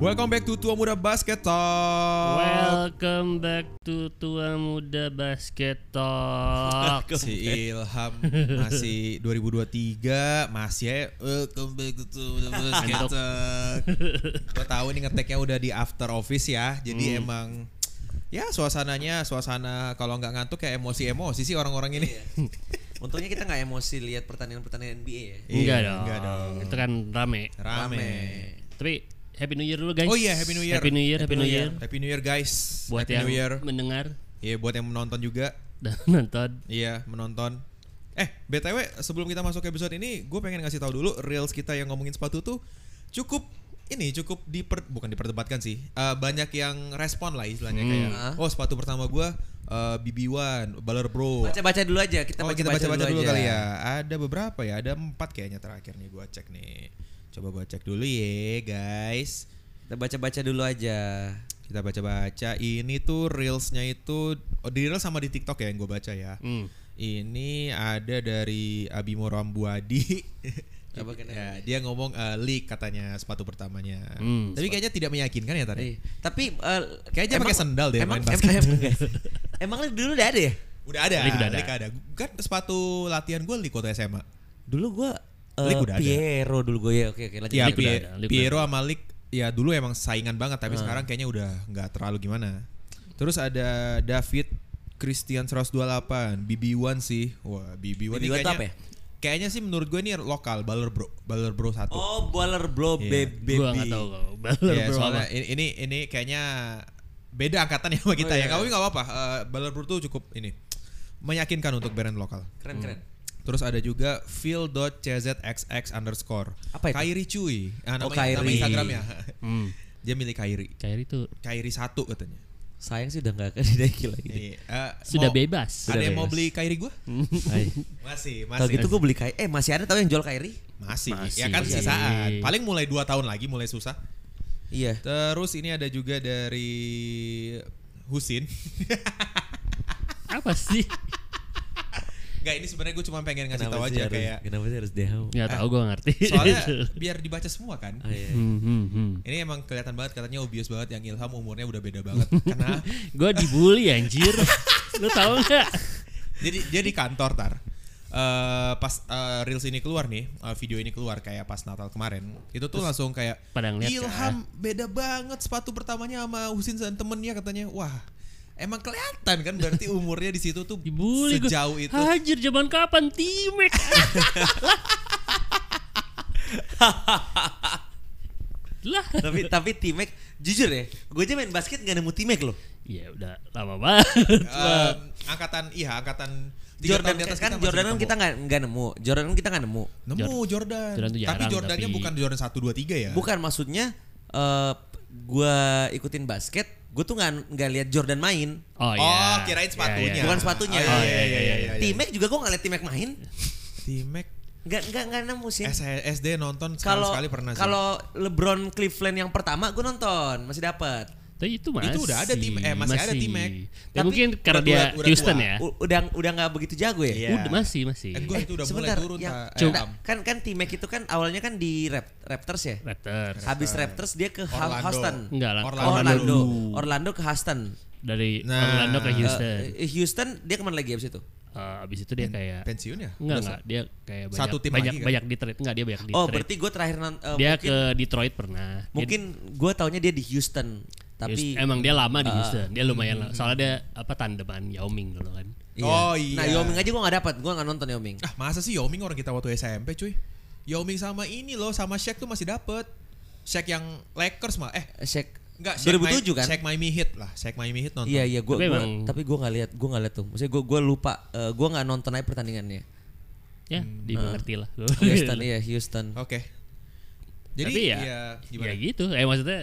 Welcome back to Tua Muda Basket Talk. Welcome back to Tua Muda Basket Talk. si Ilham masih 2023 masih aja, welcome back to Tua Muda Basket Ngantuk. Talk. Gue tahu ini ngeteknya udah di after office ya. Jadi Hmm. emang ya suasananya suasana kalau nggak ngantuk kayak emosi-emosi sih orang-orang ini. Untungnya kita nggak emosi lihat pertandingan-pertandingan NBA ya. Iya, Enggak dong. enggak dong. Itu kan rame. Rame. Tapi Happy New Year dulu guys. Oh iya, Happy New Year. Happy New Year, Happy, New Year. Happy New Year guys. Buat Happy yang New Year. mendengar Iya, buat yang menonton juga. dan nonton. Iya, menonton. Eh, BTW sebelum kita masuk ke episode ini, gue pengen ngasih tahu dulu reels kita yang ngomongin sepatu tuh cukup ini cukup diper bukan diperdebatkan sih. Eh, banyak yang respon lah istilahnya Hmm. kayak oh sepatu pertama gua eh, BB1 Baller Bro. Baca-baca dulu aja, oh, kita kita baca-baca baca-baca dulu, aja. kali ya. Ada beberapa ya, ada empat kayaknya terakhir nih gua cek nih. Coba gua cek dulu ya, guys. Kita baca-baca dulu aja. Kita baca-baca ini tuh reelsnya itu oh, di reels sama di TikTok ya yang gue baca ya. Hmm. Ini ada dari Abimo Rambuadi. Apa kena? ya, dia ngomong eh, leak katanya sepatu pertamanya. Hmm, Tapi kayaknya tidak meyakinkan ya tadi. Eh, Tapi eh, Kayaknya emang- pakai sendal deh Emang main basket. Emang, emang lu dulu udah ada ya? Udah ada, Leak udah ada. leak ada. Kan sepatu latihan gue leak waktu SMA. Dulu gua eh, League udah ada. Piero dulu gua ya. Oke, oke lanjut. Ya, leak udah Pie- ada, Ah. leak udah Piero sama leak ya dulu emang saingan banget tapi sekarang kayaknya udah nggak terlalu gimana. Terus ada David Christian 128, BB1 sih. Wah, BB1, ini BB1 kayaknya. apa ya? Kayaknya sih menurut gue ini lokal Baller Bro, Baller Bro 1. Oh, boiler blow Iya. baby. Gua nggak tahu kalau baler Iya, bro. soalnya apa. ini, ini ini kayaknya beda angkatan ya sama Oh, kita iya, ya. Tapi nggak apa-apa. Eh, Baller Bro tuh cukup ini meyakinkan untuk brand lokal. Keren, keren. Terus ada juga phil.czxx underscore. Apa itu? Kairi cuy. Ah, namanya- Oh, nama Kairi. Instagram ya. Hmm. Dia milik Kairi. Kairi tuh Kairi satu katanya. Sayang sih udah nggak akan dinaiki lagi. Iya, eh, sudah mau- bebas. Ada Sudah yang mau bebas. beli Kairi gua? Hai. Masih, Kalau masih. gitu iya, gua beli Kairi. Eh, masih ada tahu yang jual Kairi? masih. Masih. Ya kan Masih. sisaan. Paling mulai 2 tahun lagi mulai susah. Iya. Terus ini ada juga dari Husin. apa sih? Enggak, ini sebenarnya gue cuma pengen ngasih Kenapa tahu sih aja harus- kayak Kenapa sih harus dehau? Nggak tahu gua ngerti. soalnya biar dibaca semua kan. Ah, iya. Hmm, hmm, hmm. Ini emang kelihatan banget katanya obvious banget yang Ilham umurnya udah beda banget. Karena Gua dibully anjir. Lu tahu nggak? jadi dia di kantor tar. Eh, pas eh, reels ini keluar nih, eh, video ini keluar kayak pas Natal kemarin. Itu tuh langsung kayak pada ngeliat kan?" Ilham beda banget sepatu pertamanya sama Husin dan temennya katanya. Wah, emang kelihatan kan berarti umurnya di situ tuh Dibully gua. sejauh itu. Anjir zaman kapan Timek? lah. tapi tapi Timek jujur ya, gue aja main basket gak nemu Timek loh. Ya udah lama banget. Eh, angkatan iya angkatan tiga Jordan tahun di atas kan masih Ya. Jordan kan ketemu. kita nggak nggak nemu, Jordan kan kita nggak nemu. Nemu Jordan. Jordan tuh tapi jarang, Jordannya tapi- bukan Jordan 1 2 3 ya. Bukan maksudnya eh gue ikutin basket, gue tuh nggak nggak lihat Jordan main, Oh, iya. Oh, kirain Iya, sepatunya. iya. bukan sepatunya. Oh, iya, iya, iya, iya, iya. Timek juga gue nggak lihat Timek main, T-Mac nggak nggak nggak nemu sih. S- SD nonton sekali Kalau Eh, sekali pernah sih. kalau LeBron Cleveland yang pertama gue nonton masih dapat. Tapi itu masih. udah ada Timek. Eh, masih ada Timek. Tapi Tapi mungkin udah karena tua, dia udah Houston tua. ya. U- Udah udah nggak begitu jago ya. Iya. Udah masih masih. Eh, gue itu udah mulai sebentar, turun Eh, yang- tak. yang- Tam. kan kan Timek itu kan awalnya kan di Rap- Raptors ya. Raptor. Habis Raptors dia ke Ha- Orlando. Houston. Enggak lah. Orlando. Orlando. Orlando. dulu. ke Houston. Dari Nah. Orlando ke Houston. Eh, Houston dia kemana lagi abis itu? Eh, abis itu dia kayak pensiun ya? enggak enggak dia kayak banyak Satu tim banyak lagi kan? banyak di trade enggak dia banyak di Oh trade. berarti gue terakhir non- oh, eh, dia mungkin ke Detroit pernah. Dia- mungkin gue taunya dia di Houston tapi Houston- emang dia lama di Houston. Dia lumayan lah. Soalnya dia apa tandeman Yao Ming dulu kan. Oh, iya. Nah Yoming aja gue gak dapat, gue gak nonton Yoming. Ah, masa sih Yaoming orang kita waktu SMP, cuy? Yaoming sama ini loh, sama Shaq tuh masih dapet. Shaq yang Lakers mah eh Shaq enggak Shaq 2007 Mi- kan? Shaq Miami Heat lah, Shaq Miami Heat nonton. Iya iya gue Tapi emang- tapi gue nggak lihat gue nggak lihat tuh. Maksudnya gue gue lupa eh, gue nggak nonton aja pertandingannya. Ya, dimengerti lah. Houston iya Houston. Oke. Jadi Tapi ya, ya, ya gimana? gitu. Eh maksudnya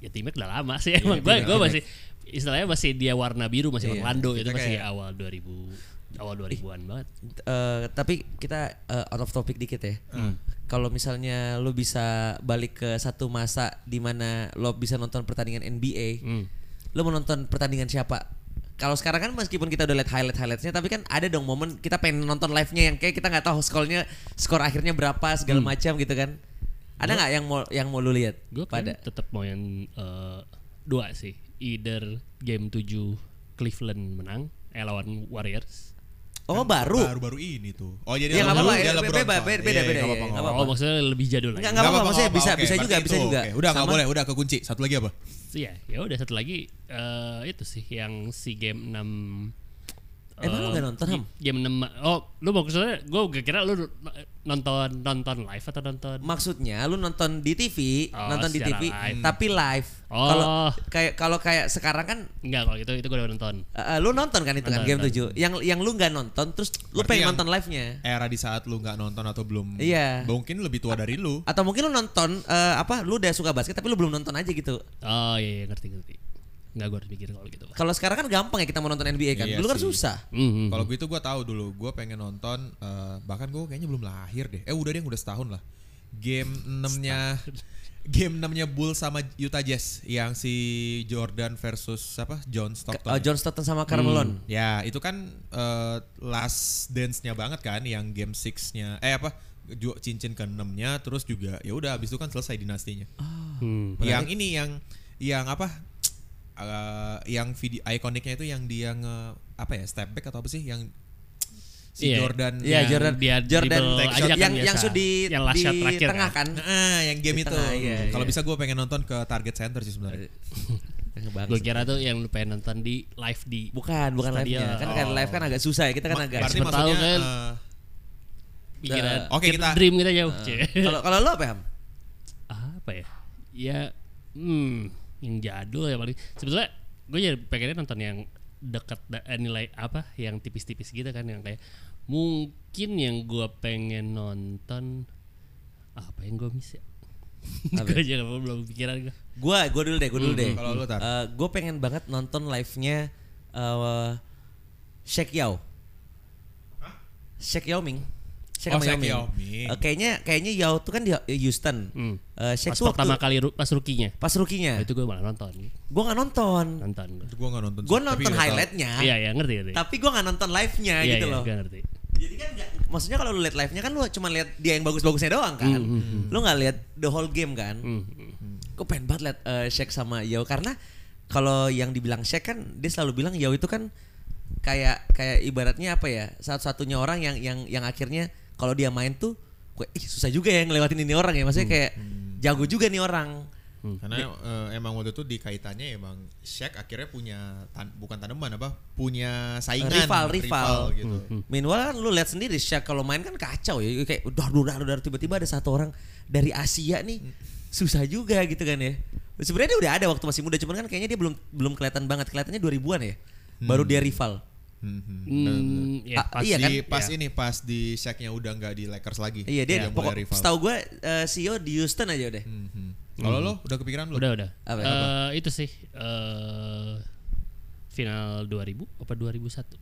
ya timnya udah lama sih. Emang gue gue masih istilahnya masih dia warna biru masih Orlando itu kita masih kayak- awal 2000 awal 2000-an banget. Eh, tapi kita eh, out of topic dikit ya. Kalau misalnya lo bisa balik ke satu masa di mana lo bisa nonton pertandingan NBA, Hmm. lo mau nonton pertandingan siapa? Kalau sekarang kan meskipun kita udah lihat highlight highlightsnya, tapi kan ada dong momen kita pengen nonton live-nya yang kayak kita nggak tahu skornya skor akhirnya berapa segala macam gitu kan. Ada nggak yang mau yang mau lu lihat? Gue pada pada tetap kan mau yang eh, dua sih. Either game 7 Cleveland menang eh lawan Warriors. Oh, baru. Baru-baru ini tuh. Oh jadi Ya, nggak LeBron- apa-apa, dia ya, LeBron beda- Pak. Iya, beda- beda- nggak apa-apa, beda, ya, nggak nggak apa-apa. Oh, maksudnya lebih jadul lagi. Nggak, nggak apa-apa, maksudnya bisa- oke. bisa juga, Berarti bisa itu juga. oke. Udah nggak Sama- boleh, udah kekunci. Satu lagi apa? Iya, ya udah satu lagi eh, itu sih yang si game 6 Emang lu nggak nonton, Ham? Hmm. Game 6 Oh, lu mau kesana? Gue kira lu nonton nonton live atau nonton Maksudnya lu nonton di TV, Oh, nonton di secara TV, live. tapi live. Oh. Kalau kayak kalau kayak sekarang kan Enggak kalau gitu itu gue udah nonton. eh, lu nonton kan itu kan Nonton, game nonton. 7. Yang yang lu nggak nonton terus lu Berarti pengen yang- nonton live-nya. Era di saat lu nggak nonton atau belum. Iya. Mungkin lebih tua dari lu. Atau mungkin lu nonton eh, apa lu udah suka basket tapi lu belum nonton aja gitu. Oh iya, iya ngerti ngerti. Enggak gue harus mikir kalau gitu. Kalau sekarang kan gampang ya kita mau nonton NBA kan. Iya Dulu kan sih. susah. Hmm. Kalau gue itu gue tahu dulu, gue pengen nonton eh, bahkan gue kayaknya belum lahir deh. Eh udah deh, udah setahun lah. Game 6-nya game 6-nya Bull sama Utah Jazz yang si Jordan versus siapa? John Stockton. Oh, ya. John Stockton sama Hmm. Carmelo. Ya, itu kan eh, last dance-nya banget kan yang game 6-nya eh apa? ju- cincin ke-6-nya terus juga ya udah habis itu kan selesai dinastinya. Nah, Ah. Hmm. Yang ini yang yang apa? eh, yang video ikoniknya itu yang dia nge apa ya step back atau apa sih yang si Iya. Jordan Iya, yang- Jordan- dia Jordan dribble take aja shot kan yang biasa. yang sudah di, yang last di shot terakhir tengah kan. kan. Ah, yang game Di itu. tengah, iya, Kalau iya. bisa gue pengen nonton ke Target Center sih sebenarnya. Gue kira tuh yang lu pengen nonton di live di Bukan, bukan Stadion. live-nya. Kan kan Oh. live kan agak susah ya. Kita kan Ma- agak Berarti Siapa tahu maksudnya kan. eh, pikiran. Oke, kita- Eh. dream kita jauh. Cie. Kalau kalau lo apa, Ham? apa ya? Ya hmm, yang jadul ya paling. Sebetulnya gue jadi pengennya nonton yang dekat da- eh, nilai apa yang tipis-tipis gitu kan yang kayak mungkin yang gue pengen nonton apa yang gue miss ya? Apa? gue aja nggak- belum pikiran gue. Gue gue dulu deh, gue dulu deh. Kalau lu, Tar. gue pengen banget nonton live-nya eh Shaq Yao. Shaq Yao Ming. Oh, sama Shaq Yao Ming. Eh, kayaknya kayaknya Yao tuh kan di Houston. Hmm. Eh, Shaq Pas tuh waktu Ya. pertama kali ru- pas rukinya. pas rukinya. Itu gue malah nonton. Gue nggak nonton. Nonton gue. gue gak nonton. Gue sih, tapi nonton gua tahu. highlight-nya. Iya, iya ngerti ngerti. Tapi gue nggak nonton live-nya Iya, Ah. gitu iya, loh. Gue ngerti. Jadi kan nggak- maksudnya kalau lu lihat live-nya kan lu cuma lihat dia yang bagus-bagusnya doang kan. Hmm, Lu nggak lihat the whole game kan. Hmm, hmm. Gue pengen banget lihat eh, Shaq sama Yao karena kalau yang dibilang Shaq kan dia selalu bilang Yao itu kan kayak kayak ibaratnya apa ya satu-satunya orang yang yang yang akhirnya kalau dia main tuh gue ih susah juga ya ngelewatin ini orang ya maksudnya kayak jago juga nih orang Karena eh, emang waktu itu dikaitannya emang Shaq akhirnya punya tan- bukan tanaman apa punya saingan Rival, rival. gitu. Meanwhile kan lu lihat sendiri Shaq kalau main kan kacau ya kayak udah udah udah tiba-tiba ada satu orang dari Asia nih susah juga gitu kan ya. Sebenarnya dia udah ada waktu masih muda cuman kan kayaknya dia belum belum kelihatan banget kelihatannya 2000-an ya. Baru dia rival. Hmm, hmm. Hmm, ya, Ah, pas iya kan? Di pas Iya. ini pas di Shaq-nya udah nggak di Lakers lagi. Iya dia udah pokok mulai rival. setahu gue eh, CEO di Houston aja udah. Hmm, hmm. Kalau lo udah kepikiran lo? Udah udah. Apa, Eh, apa? itu sih eh final 2000 apa 2001.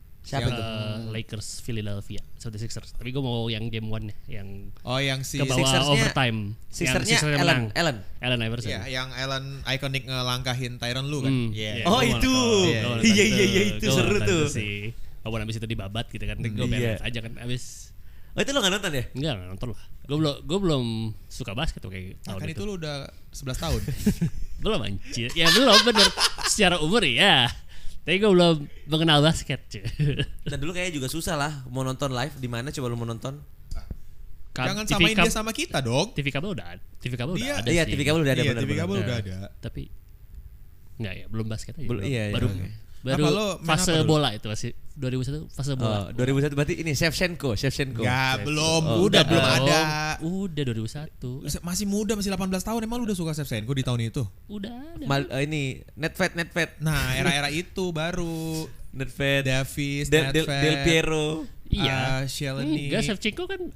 Eh, Siapa tuh? Lakers Philadelphia 76ers. Tapi gue mau yang game one nya yang Oh yang si ke bawah Sixers-nya- overtime. Yang Sixernya Sixers yang Allen, menang. Allen. Allen Iverson. ya yang Allen iconic ngelangkahin Tyron lu kan. Hmm, Iya. iya. Gua Oh, mau itu. nonton, Iya, gua mau iya, nonton iya, iya, itu Gua mau seru nonton tuh. sih. Walaupun abis itu dibabat gitu kan, gue Iya. beres aja kan abis Oh itu lo gak nonton ya? Enggak, enggak nonton lah. Gue belum, gue belum suka basket tuh kayak Nah, tahun kan itu. itu lu udah 11 tahun. Belum anjir. Ya belum bener. Secara umur ya. Tapi gue belum mengenal basket. cuy. Dan dulu kayaknya juga susah lah mau nonton live di mana coba lu mau nonton? Kam- Jangan TV samain kam- dia sama kita dong. TV kabel udah ada. TV kabel udah Dia- ada Iya sih. TV kabel udah ada Iya, benar TV kabel Nah, udah ada. Tapi enggak ya, belum basket aja. Belum, iya, iya, baru oke. baru Apa lo main fase apa dulu? bola itu masih 2001 fase Oh, bola. 2001 berarti ini Shevchenko, Shevchenko. Enggak, Ya, belum. Oh, udah, belum dong. ada. Oh, Udah 2001. Masih muda, masih 18 tahun. Emang lu udah suka Shevchenko di tahun itu? Udah ada. Mal, eh, ini Netfed, Netfed, Nah, era-era itu baru Netfed. Davis, Del, Del, Nedved, Del Piero. ah, Iya. Shelny. Enggak Shevchenko kan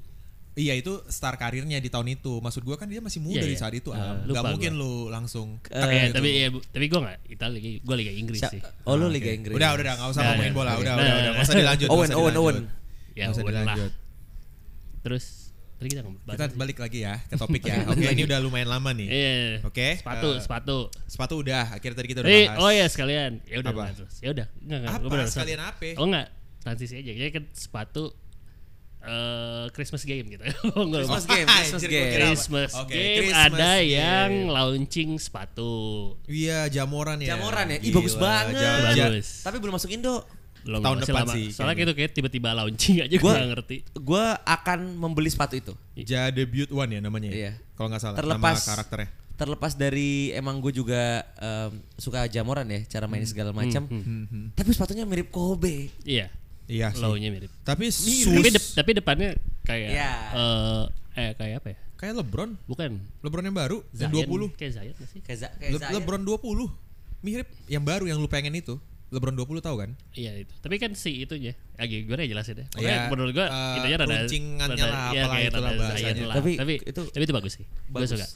Iya, itu star karirnya di tahun itu. Maksud gua kan dia masih muda Iya, di iya. saat itu. Eh, Am. Gak lupa gua. mungkin lu langsung. tek Ah, Eh, Iya, gitu. tapi ya, tapi gue nggak Italia, gue Liga Inggris Sha- sih. Oh Ah, lu Liga oke. Inggris. Udah, udah, udah, nggak usah Udah, ngomongin udah, bola. oke. Udah, udah, Nah, nah, udah. nah. Nggak usah dilanjut. nggak Owen, usah Owen, dilanjut. Owen. Ya, Nggak usah Owen lah. dilanjut. Terus tadi kita ngomong Kita balik lagi ya ke topik ya. Oke, ini udah lumayan lama Eh. nih. Iya. Oke, Sepatu, eh, sepatu. Sepatu udah, akhirnya tadi kita udah Eh, bahas. oh ya sekalian. Ya udah Apa? udah, terus. Ya udah. Enggak enggak. Apa? gua bener, Sekalian sorry. apa? Oh enggak. Transisi aja. Jadi kan sepatu eh eh, Christmas game gitu. Christmas game, Christmas Anjir, gua game. ya. kira- Christmas Oke, game Christmas ada game. yang launching sepatu. Iya, jamoran ya. Jamoran ya? Ih, Gila, bagus banget. Ja- ja- Bagus. Tapi belum masuk Indo. Iya. Belum Tahun masih depan lama. sih, Soalnya kayaknya. itu kayak tiba-tiba launching aja gue Gua- gak ngerti. Gue akan membeli sepatu itu. Ja debut one ya namanya. ya? Iya. Kalau nggak salah Terlepas- nama karakternya. Terlepas dari emang gue juga em, suka jamoran ya, cara Hmm. main segala macam. Tapi sepatunya mirip Kobe. Iya. Iya sih. Low-nya mirip. Tapi sus Tapi, de- tapi depannya kayak Iya. eh eh kayak apa ya? kayak LeBron. Bukan. LeBron yang baru yang Zion. 20. Kayak Zayan gak sih? Kayak, Za- kayak Le- Zion. LeBron 20. Mirip yang baru yang lu pengen itu. LeBron 20 tahu kan? Iya itu. Tapi kan si itunya, agak gue ya jelasin ya. Pokoknya Iya, menurut gue eh, itunya rada runcingannya rada- lah, iya, apalah kayak itulah rada Zion bahasanya. lah. Tapi, Tapi tapi itu itu- tapi itu bagus sih. Gue Bagus. suka.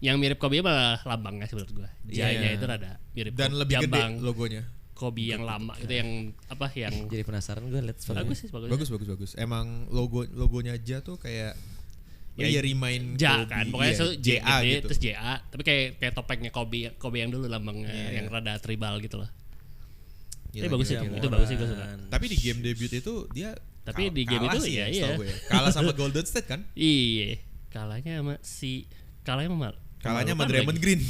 Yang mirip Kobe malah lambangnya sih menurut gue. Jayanya itu rada mirip Iya. Dan Kobe. lebih Jambang gede logonya. Kobe yang lama itu yang apa yang Jadi penasaran gue liat sepatu. bagus sih bagus. Bagus bagus bagus. Emang logo logonya aja tuh kayak Ya, ya, remind Ja Kobe. kan, pokoknya Iya, itu J JA gede, gitu. terus JA, tapi kayak kayak topengnya Kobe, Kobe yang dulu lambangnya yang rada tribal gitu loh. Iya, Gila, Tapi bagus sih, gila, gila. itu bagus sih gue suka. Tapi di game debut itu dia Tapi kal- di game kalah itu sih ya, setahu iya. gue Kalah sama Golden State kan? Iya, kalahnya sama si kalahnya sama Kalahnya sama apa Draymond lagi? Green.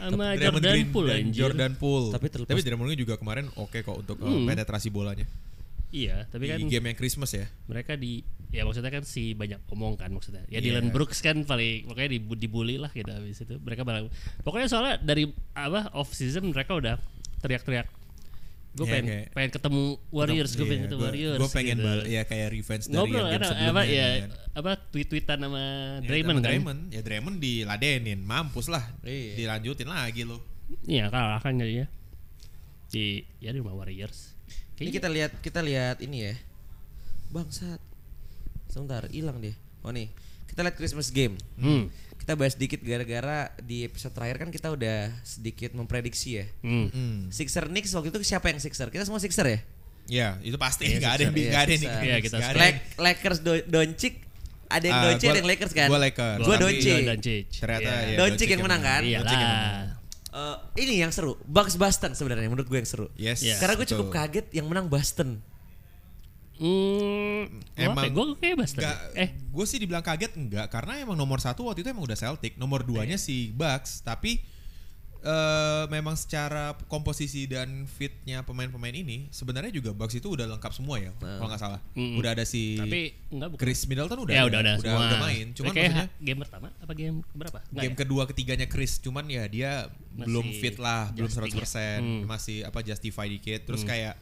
sama Draymond Jordan Green Poole dan anjir. Jordan Poole. Tapi Tapi terlepas- Draymond Green juga kemarin oke kok untuk uh, Hmm. penetrasi bolanya. Iya, tapi kan Di game yang Christmas ya. mereka di ya maksudnya kan si banyak omong kan maksudnya. Ya Iya. Dylan Brooks kan paling pokoknya dibu- dibully lah gitu habis itu. Mereka malah pokoknya soalnya dari apa off season mereka udah teriak-teriak gue Iya, pengen kayak- pengen ketemu Warriors, gue Iya, pengen ketemu Warriors. Gue pengen gitu. bal- ya kayak revenge dari ngobrol yang kan game apa sebelumnya. ya kan. apa tweet-tweetan sama Ya, Draymond sama kan. Draymond. Ya Draymond diladenin, mampus lah. Iya. Dilanjutin lagi lo. Iya kalah kan jadinya. Di ya di rumah Warriors. Ini kita lihat kita lihat ini ya. Bangsat. Sebentar, hilang dia. Oh nih, kita lihat Christmas game. Hmm. Kita bahas dikit gara-gara di episode terakhir kan kita udah sedikit memprediksi ya. Hmm. Hmm. Sixer Knicks waktu itu siapa yang Sixer? Kita semua Sixer ya? Ya, itu pasti nggak ada yang nggak ada Sixer, yang iya, nggak Iya, ada kita yang- Karen. Lak- Lakers do- Doncic ada yang Ah, Doncic gua- ada yang Lakers kan? gua Lakers. Gua Tapi- Doncic. Gua Doncic. Ternyata Iya. ya, Doncic yang menang kan? Iya Doncic yang menang. lah. Eh, ini yang seru, Bucks Boston sebenarnya menurut gue yang seru. Yes. Iya. Karena gue betul. cukup kaget yang menang Boston. Hmm, Emang emang gue kayak Boston. Nggak, Eh, gue sih dibilang kaget enggak karena emang nomor satu waktu itu emang udah Celtic, nomor duanya Iya. si Bucks, tapi eh memang secara komposisi dan fitnya pemain-pemain ini sebenarnya juga Bucks itu udah lengkap semua ya, kalau nggak salah. Nah. Mm-mm. Udah ada si tapi enggak bukan. Chris Middleton udah ya ada, udah udah, semua. main, cuman kayak maksudnya game pertama apa game berapa? Enggak game ya? kedua ketiganya Chris, cuman ya dia belum fit lah, belum 100% adjusting masih apa justify dikit, terus kayak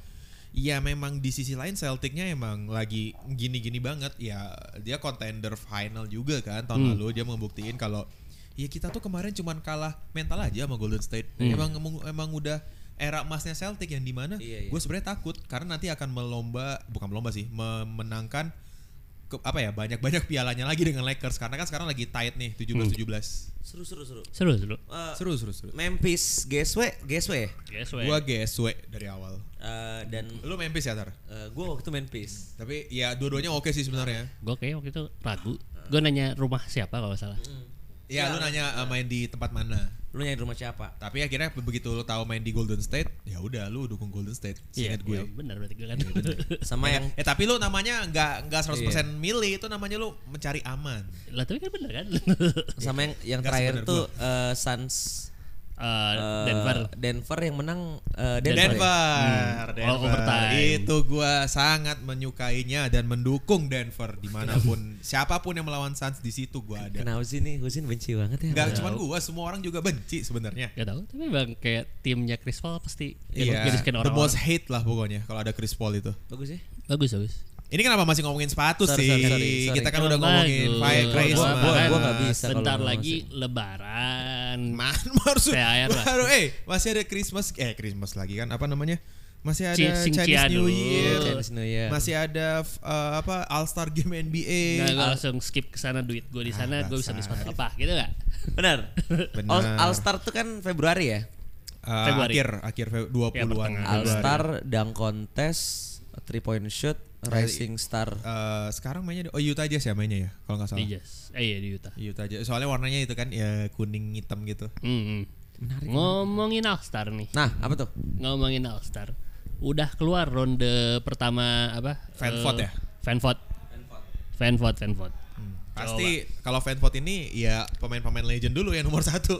Ya memang di sisi lain Celticnya emang lagi gini-gini banget ya dia contender final juga kan tahun lalu dia membuktiin kalau ya kita tuh kemarin cuman kalah mental aja sama Golden State emang emang- emang udah era emasnya Celtic yang dimana Iya, iya. gue sebenarnya takut karena nanti akan melomba bukan melomba sih memenangkan ke- apa ya banyak-banyak pialanya lagi dengan Lakers karena kan sekarang lagi tight nih 17-17 Seru seru seru. Seru seru. Eh, Hmm. seru seru seru Memphis GSW, GSW ya? Guess what? gue GSW dari awal Eh, dan lu Memphis ya Tar? gue waktu itu Memphis. tapi ya dua-duanya oke sih sebenarnya Gue kayak waktu itu ragu. Gue nanya rumah siapa kalau salah. ya lu nanya uh, main di tempat mana Lu nyari rumah siapa? tapi akhirnya begitu lu tahu main di Golden State ya udah lu dukung Golden State Iya, singkat gue iya, benar berarti gue kan. Sama yang eh tapi lu namanya nggak Iya. nggak 100% milih itu namanya lu mencari aman Lah tapi kan bener kan? sama yang yang Nggak terakhir sebenar tuh eh, Suns Eh, eh, Denver. Denver yang menang eh, Denver. Denver, Denver, ya? Hmm. all overtime. itu gua sangat menyukainya dan mendukung Denver dimanapun siapapun yang melawan Suns di situ gua ada. Kenapa sih nih Husin benci banget ya? Iya. Gak cuma gua, semua orang juga benci sebenarnya. Gak tau, tapi bang kayak timnya Chris Paul pasti Iya, the gadiskan orang-orang. most hate lah pokoknya kalau ada Chris Paul itu. Bagus ya? Bagus bagus. Ini kenapa masih ngomongin sepatu Sorry, sih? sorry, sorry, sorry. Kita kan Emang udah ngomongin bagus. Fire Gua- Christmas. gua- gua- gua nggak bisa. Bisa kalau Bentar nggak lagi Lebaran. Man, baru THR lah. baru- eh masih ada Christmas eh Christmas lagi kan apa namanya? Masih ada Ci- Xinjiang Chinese New dulu. Year. Chinese New iya. Year. Masih ada f- eh, apa All Star Game NBA. Nah, gue langsung skip ke sana duit gue di sana, gue bisa beli sepatu apa, gitu gak? Benar. Benar. All, All Star tuh kan Februari ya? Eh, Februari. akhir akhir dua Ya, an pertengahan. All Star, dunk contest, three point shoot, rising star. sekarang mainnya di- oh Utah Jazz ya mainnya ya kalau nggak Di salah. Jazz, eh iya di Utah. Utah Jazz. Soalnya warnanya itu kan ya kuning hitam gitu. Mm-mm. Ngomongin All Star nih, Nah, apa tuh? ngomongin All Star. Udah keluar ronde pertama apa? eh, Fan vote ya? Fan vote. Fan vote, fan vote. Pasti kalau fan vote ini ya pemain-pemain legend dulu yang nomor satu.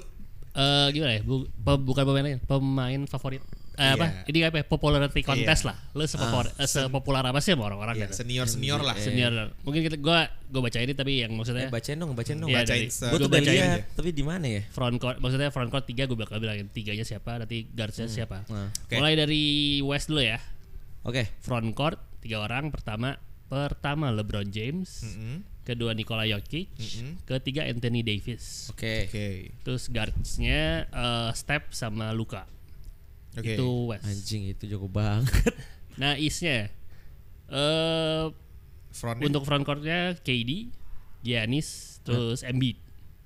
Eh gimana ya? Bu- pe- bukan pemain lain, pemain favorit. Eh, apa? Iya. Ini apa ya? Popularity contest lah. Lu sepopor- eh, sepopular apa sih sama orang-orang Ya, gitu. senior senior lah. Senior. Mungkin kita gua gua baca ini tapi yang maksudnya Eh, bacain dong, bacain dong. Iya, Bacain dari- se- Gue tuh gua udah bacain aja. lihat, tapi di mana ya? front court maksudnya front court tiga gue bakal bilangin tiganya siapa nanti guardsnya siapa Nah, Hmm. oke. mulai dari West dulu ya Oke. front court tiga orang pertama pertama LeBron James Mm-mm. kedua Nikola Jokic ketiga Anthony Davis Oke. Oke. terus guardsnya eh, Steph sama Luka Oke. itu West Anjing itu jago banget. nah Eastnya eh Front untuk front courtnya KD Giannis terus Embiid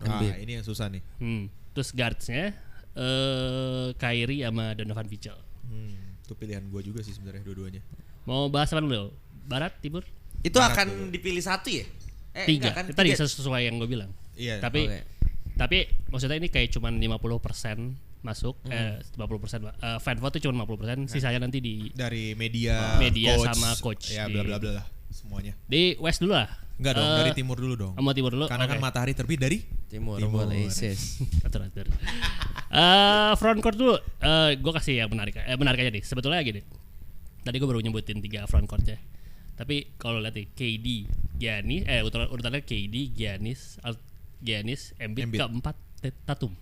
Wah, Ah, ini yang susah nih. hmm. terus guardsnya eh Kyrie sama Donovan Mitchell Hmm, itu pilihan gua juga sih sebenarnya dua-duanya. Mau bahas apa dulu? Barat, timur? itu akan dipilih satu ya? Eh, tiga. enggak kan? Tadi Tiga. sesuai yang gue bilang. Iya. tapi oke. tapi maksudnya ini kayak cuman 50% masuk Hmm. eh 50% eh, fan vote tuh cuman 50% Iya. sisanya nanti di Dari media, Oh, Media coach, sama coach. Ya bla bla bla lah semuanya. di west dulu lah. Enggak dong, Eh, dari timur dulu dong. Mau timur dulu. Karena kan Oke. matahari terbit dari Timur, Timur. boleh, Isis. atur atur. Eh, front court dulu eh gue kasih yang menarik eh, menarik aja nih sebetulnya gini tadi gue baru nyebutin tiga front courtnya tapi kalau lihat nih KD Giannis eh urutan- urutannya KD Giannis Al- Giannis Embiid, Embiid. keempat T- Tatum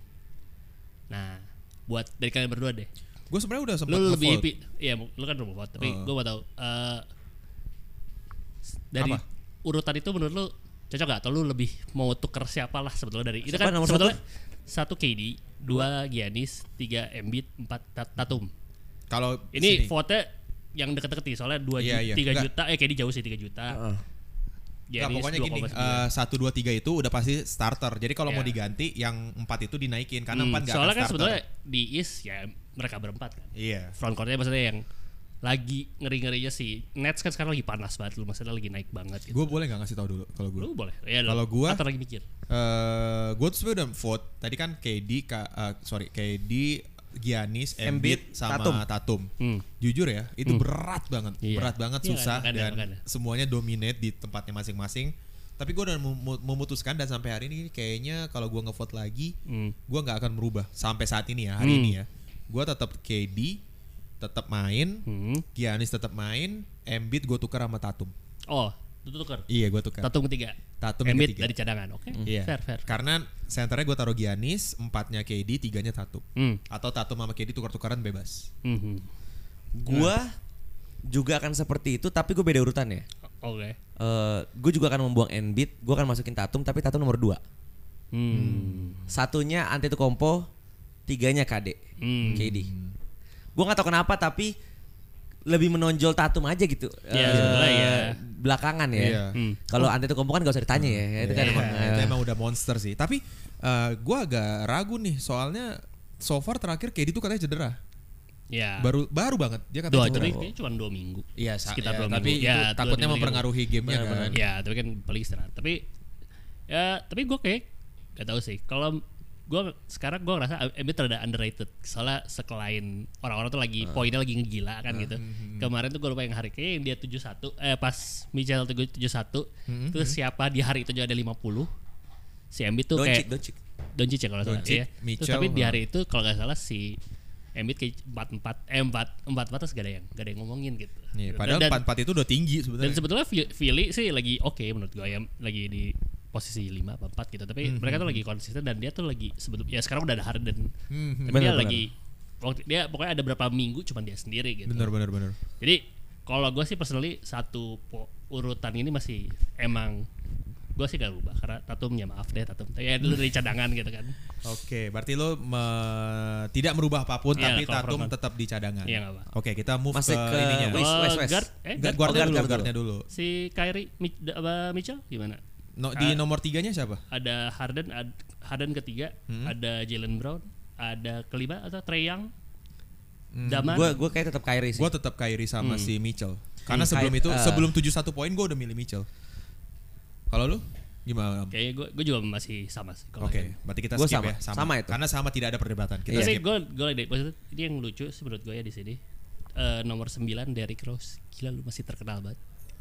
nah buat dari kalian berdua deh Gue sebenarnya udah sempat lu ngevote. lebih happy ya lu kan rumah vote tapi Heeh. gue mau tahu eh, s- dari Apa? urutan itu menurut lu cocok gak atau lu lebih mau tuker siapa lah sebetulnya dari itu Siapa kan nomor sebetulnya satu KD dua Giannis tiga Embiid empat Ta- Tatum Kalau ini sini. vote yang deket-deket nih soalnya dua Iya, ju- iya. tiga Nggak. juta eh KD jauh sih tiga juta Heeh. Nggak, Giannis pokoknya gini, 2,9. eh, satu dua tiga itu udah pasti starter. Jadi kalau mau Iya. diganti, yang empat itu dinaikin karena Hmm, empat nggak soalnya akan kan starter. sebetulnya di East ya mereka berempat kan Iya. front courtnya maksudnya yang lagi ngeri-ngerinya sih Nets kan sekarang lagi panas banget lu maksudnya lagi naik banget gitu. Gue boleh nggak ngasih tahu dulu kalau gue? Lu boleh. Ya, Kalau lu- gua- atau lagi mikir. eh gue tuh sebenernya udah vote tadi kan KD Ka- eh, sorry KD Giannis Embiid Embiid, sama Tatum. Tatum, jujur ya itu berat banget Hmm. Iya. berat banget Iya, susah makanya, dan makanya. semuanya dominate di tempatnya masing-masing tapi gue udah memu- memutuskan dan sampai hari ini kayaknya kalau gue ngevote lagi Hmm. gue nggak akan merubah sampai saat ini ya hari ini ya gue tetap KD tetap main Hmm. Giannis tetap main Embiid gue tukar sama Tatum Oh, itu tuker. iya gue tukar Tatum ketiga. Tatum yang Embiid ketiga. dari cadangan. Oke. Iya. Fair fair. Karena senternya gue taruh Giannis, empatnya KD, tiganya Tatum. Hmm. Atau Tatum sama KD tukar-tukaran bebas. Mhm. Gua Nah. juga akan seperti itu, tapi gue beda urutan ya. Oke. Eh, gue juga akan membuang Embiid, gue akan masukin Tatum, tapi Tatum nomor dua. Hmm. Satunya Antetokounmpo, tiganya KD, Hmm. KD. Gue nggak tahu kenapa, tapi lebih menonjol Tatum aja gitu. Iya, Eh, sebelah ya. Belakangan ya. Iya. Hmm. Kalau Antetokounmpo kan gak usah ditanya ya, itu kan Iya, emang. eh, itu emang udah monster sih. Tapi gue agak ragu nih soalnya so far terakhir KD tuh katanya cedera. Ya. Baru baru banget dia katanya dua cedera. tapi kayaknya cuma dua minggu. Iya, sa- sekitar ya, dua tapi minggu. itu Ya, dua takutnya minggu, tiga mempengaruhi gamenya kan. minggu. Ya, tapi kan paling istirahat. Tapi ya, tapi gue kayak gak tahu sih. Kalau gue sekarang gue ngerasa Embiid terada underrated. Soalnya sekelain orang-orang tuh lagi poinnya lagi ngegila kan gitu. Kemarin tuh gue lupa yang hari kayak dia 71 eh pas Michel tuh 71. Terus siapa di hari itu juga ada 50. Si Embiid tuh Doncic, kayak Doncic. Doncic ya kalau nggak salah Doncic, ya. Terus Mitchell, tapi di ha. hari itu kalau nggak salah si Embiid kayak empat empat eh, empat empat empat terus gak ada yang gak ada yang ngomongin gitu. Iya, Dan- padahal dan, empat-empat itu udah tinggi dan Iya. sebenarnya. sebetulnya Fi- Philly sih lagi oke menurut gue ya lagi di posisi 5 apa 4 gitu Mhm. tapi mereka tuh lagi konsisten dan dia tuh lagi sebetulnya ya sekarang udah ada Harden Hmm, tapi dia Mhm. Benar, benar. lagi waktu dia pokoknya ada berapa minggu cuman dia sendiri gitu bener bener bener. jadi kalau gue sih personally satu po- urutan ini masih emang gue sih gak rubah karena Tatum ya maaf deh Tatum ya dulu dari cadangan gitu kan Oke, berarti lo me- tidak merubah apapun Iya, tapi kalau Tatum perempuan. tetap di cadangan. Iya, nggak apa. Oke, kita move Masih ke, ke ininya. West. Eh, west. guard eh Guard- guard, Guardnya dulu, guard dulu. guardnya dulu. si Kyrie Mi- apa, Mitchell gimana No, Kan? di nomor tiganya siapa? ada Harden ad- Harden ketiga Hmm. ada Jalen Brown ada kelima atau Trey Young Daman Gue gue kayak tetap Kyrie sih. Gue tetap Kyrie sama si Mitchell. Karena sebelum Ky- itu Hmm. eh. sebelum 71 poin gue udah milih Mitchell. Kalau lu gimana? Oke, kayaknya gue gue juga masih sama sih kalau yang- berarti kita Gua skip sama. ya. Sama itu. Karena sama tidak ada perdebatan. iya, Kita tapi skip. gue gue like maksudnya ini yang lucu sih menurut gue ya di sini Eh nomor 9 Derrick Rose gila lu masih terkenal banget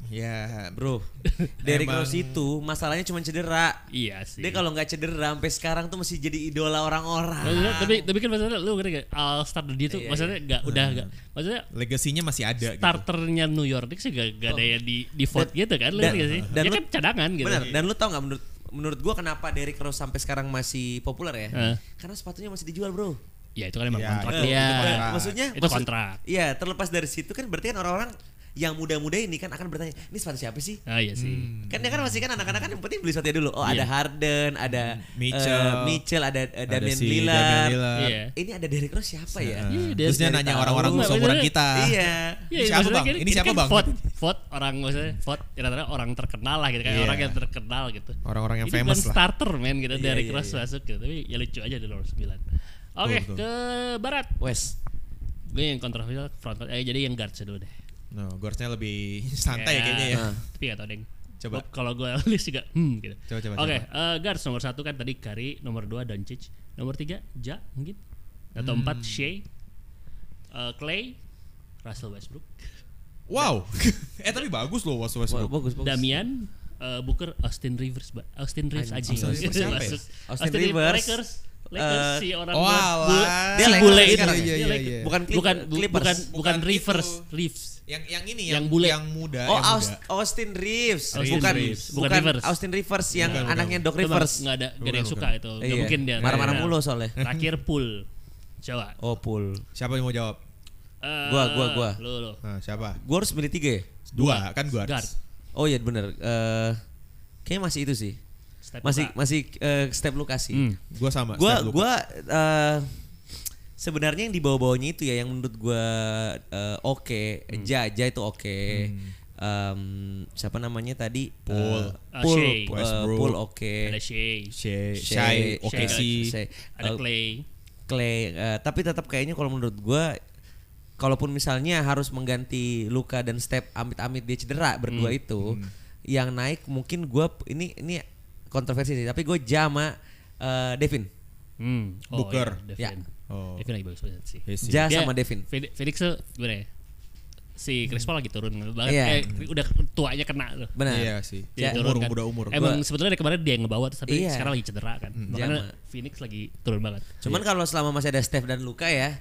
Ya, bro. Iya, Bro, Derrick Emang- Rose itu masalahnya cuma cedera. Iya sih. Dia kalau nggak cedera sampai sekarang tuh masih jadi idola orang-orang. Maksudnya, tapi tapi kan maksudnya lu ngerti gak all star dia Iya, tuh maksudnya gak udah Hmm. gak maksudnya Legasinya masih ada gitu. starternya New York Knicks juga gak ada yang di di vote gitu kan lu Oh. dan- ngerti gak sih dan dia lu- kan cadangan gitu Benar. Dan lu tau nggak menurut menurut gua kenapa Derrick Rose sampai sekarang masih populer ya? Heeh. Karena sepatunya masih dijual, Bro. ya itu kan emang Ya, kontrak itu- itu dia kontrak. Eh, Iya, Maksudnya itu maksud- kontrak. Iya, terlepas dari situ kan berarti kan orang-orang yang muda-muda ini kan akan bertanya, "Ini sepatu siapa sih?" ah iya sih Hmm. Kan dia kan masih kan anak-anak kan yang penting beli sepatunya dulu. Oh, ada Harden, ada Iya. Hmm. Mitchell. eh, Mitchell, ada eh, Ada Damian si Lillard. Damian Lillard. Iya. Ini ada Derrick Rose siapa ya? Iya, Nah, dia Terus dia sendiri nanya tahu. orang-orang Nggak, seumuran maksudnya- kita. Iya. Ini siapa, maksudnya Bang? Ini siapa, kan Bang? Vote, vote orang maksudnya vote ya rata-rata orang terkenal lah gitu kan Iya. orang yang terkenal gitu. Orang-orang yang Ini bukan famous lah. starter men gitu Iya, dari iya, cross iya. masuk gitu. Tapi ya lucu aja di nomor 9. Oke, Betul, betul. ke barat. Wes. Gue yang kontroversial front court. Eh jadi yang guard dulu deh. No, guardsnya lebih santai Iya. Ya, kayaknya ya. Tapi gak tau deng. Coba. Gua- Kalau gue list juga hmm gitu. Coba, coba, Oke, eh, guards nomor satu kan tadi Kari, nomor dua Doncic, nomor tiga Ja mungkin atau Hmm. empat Shea, eh, Clay, Russell Westbrook, Wow. eh tapi bagus loh Wes Wah, Westbrook. bagus, bagus. Damian, eh, Booker, Austin Rivers, ba- Austin Reeves aja. Anjing, Austin Rivers siapa ya? Austin Rivers, Lakers, Lakers eh, si orang oh, buat bule- alah. si Dia Lakers bule itu. sekarang ya? Dia Iya, iya, Lakers. iya. Bukan Clip- bukan bu- Clippers. bukan bukan Bukan Rivers, itu. Reeves. Yang yang ini Yang yang bule. yang muda, Oh, yang Aus- muda. Austin Reeves. Austin bukan, Reeves. Bukan bukan Rivers. Austin Rivers yang Bukan, bukan. anaknya Doc Itu Rivers. mah Nggak ada nggak ada yang Bukan, suka bukan. itu. Nggak Iya. mungkin dia. Marah-marah Nah, mulu soalnya. Terakhir pool. Coba. Oh, pool. Siapa yang mau jawab? Eh, Gua, gua, gua. Lu lu. Nah, siapa? Gue harus milih tiga ya? Dua, kan guards. Guard. Oh iya bener. Eh kayaknya masih itu sih. Step masih Luka. masih eh, step lokasi. Hmm. Gua sama. Gua Steph Luka. gua eh, sebenarnya yang di bawah-bawahnya itu ya yang menurut gua eh, oke, Ja Ja itu oke. Em, siapa namanya tadi? Eh, Poole. Ah, Pool, Shea. Westbrook. oke. Ada Shea. Shea, Shea, Shai, oke Shai. sih. Shea. Ada Eh, Clay. Clay eh, tapi tetap kayaknya kalau menurut gua kalaupun misalnya harus mengganti Luka dan Step amit-amit dia cedera berdua itu yang naik mungkin gua ini ini kontroversi sih tapi gue jama eh, Devin Hmm. Oh, Booker. iya, Ya. Devin. Oh. Devin lagi bagus banget sih. Yes, yes. Dia- Ja Iya, sama Devin Phoenix Phoenix Iya. tuh gimana ya? Si Chris Paul lagi turun banget. Iya. Eh, udah tuanya kena tuh. benar Iya sih. Dia Ya, umur, turun kan. muda umur. Hmm, Emang sebetulnya dari kemarin dia yang ngebawa tapi Iya. sekarang lagi cedera kan. Makanya Jama. Phoenix lagi turun banget. cuman Iya. kalau selama masih ada Step dan Luka ya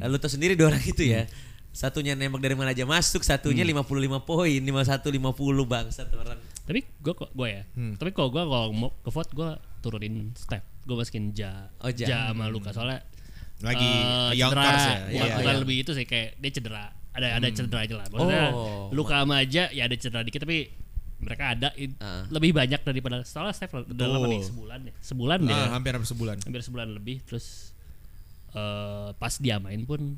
eh, lu tau sendiri dua orang itu ya satunya nembak dari mana aja masuk satunya Mm. 55 poin 51 50 bang satu orang Tapi gua kok gua ya. Hmm. Tapi kalau gua kalau mau ke vote gua turunin step. Gua masukin Ja. Oh, Ja. sama Luka soalnya Lagi eh, young cedera. cars ya. Bukan, Iya, Hmm. bukan iya. lebih itu sih kayak dia cedera. Ada ada cedera aja lah. Maksudnya Oh. Luka sama aja ya ada cedera dikit tapi mereka ada i- Ah. lebih banyak daripada soalnya step udah lama nih Betul. sebulan ya. Sebulan Ah, ya. hampir hampir sebulan. hampir sebulan lebih terus eh pas dia main pun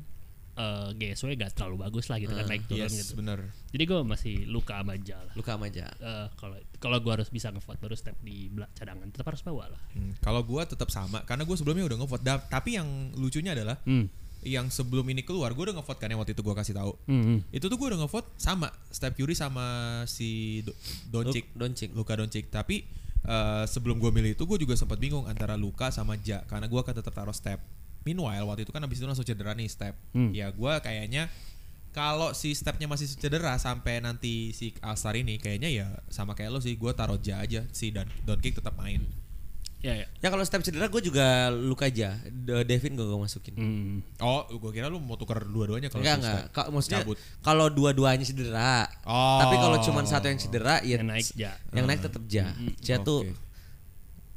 eh GSW gak terlalu bagus lah gitu kan naik turun Ah, Yes, gitu bener. jadi gue masih luka sama aja lah Luka sama Ja Eh, kalau kalau gue harus bisa ngevote baru step di belak cadangan tetap harus bawa lah Hmm, Kalau gua tetap sama karena gua sebelumnya udah ngevote. Da- Tapi yang lucunya adalah hmm. yang sebelum ini keluar gua udah ngevote kan yang waktu itu gua kasih tahu. Hmm. Itu tuh gua udah ngevote sama Steph Curry sama si Do- Doncic. Doncic Luka Doncic tapi eh, sebelum gue milih itu gue juga sempat bingung antara Luka sama Ja karena gue akan tetap taruh step meanwhile waktu itu kan abis itu langsung cedera nih step Hmm. ya gue kayaknya kalau si stepnya masih cedera sampai nanti si Alstar ini kayaknya ya sama kayak lo sih gue taruh Ja aja si dan Doncic tetap main ya ya Ya kalau step cedera gue juga luka aja. De- Devin gue masukin. hmm. oh gue kira lo mau tukar dua-duanya kalau Enggak si enggak. Steph. Ka- maksudnya Cabut. kalau dua-duanya cedera. Oh. Tapi kalau cuma satu yang cedera ya Yang naik Ja. Yang naik tetap ja. Ja tuh Oke.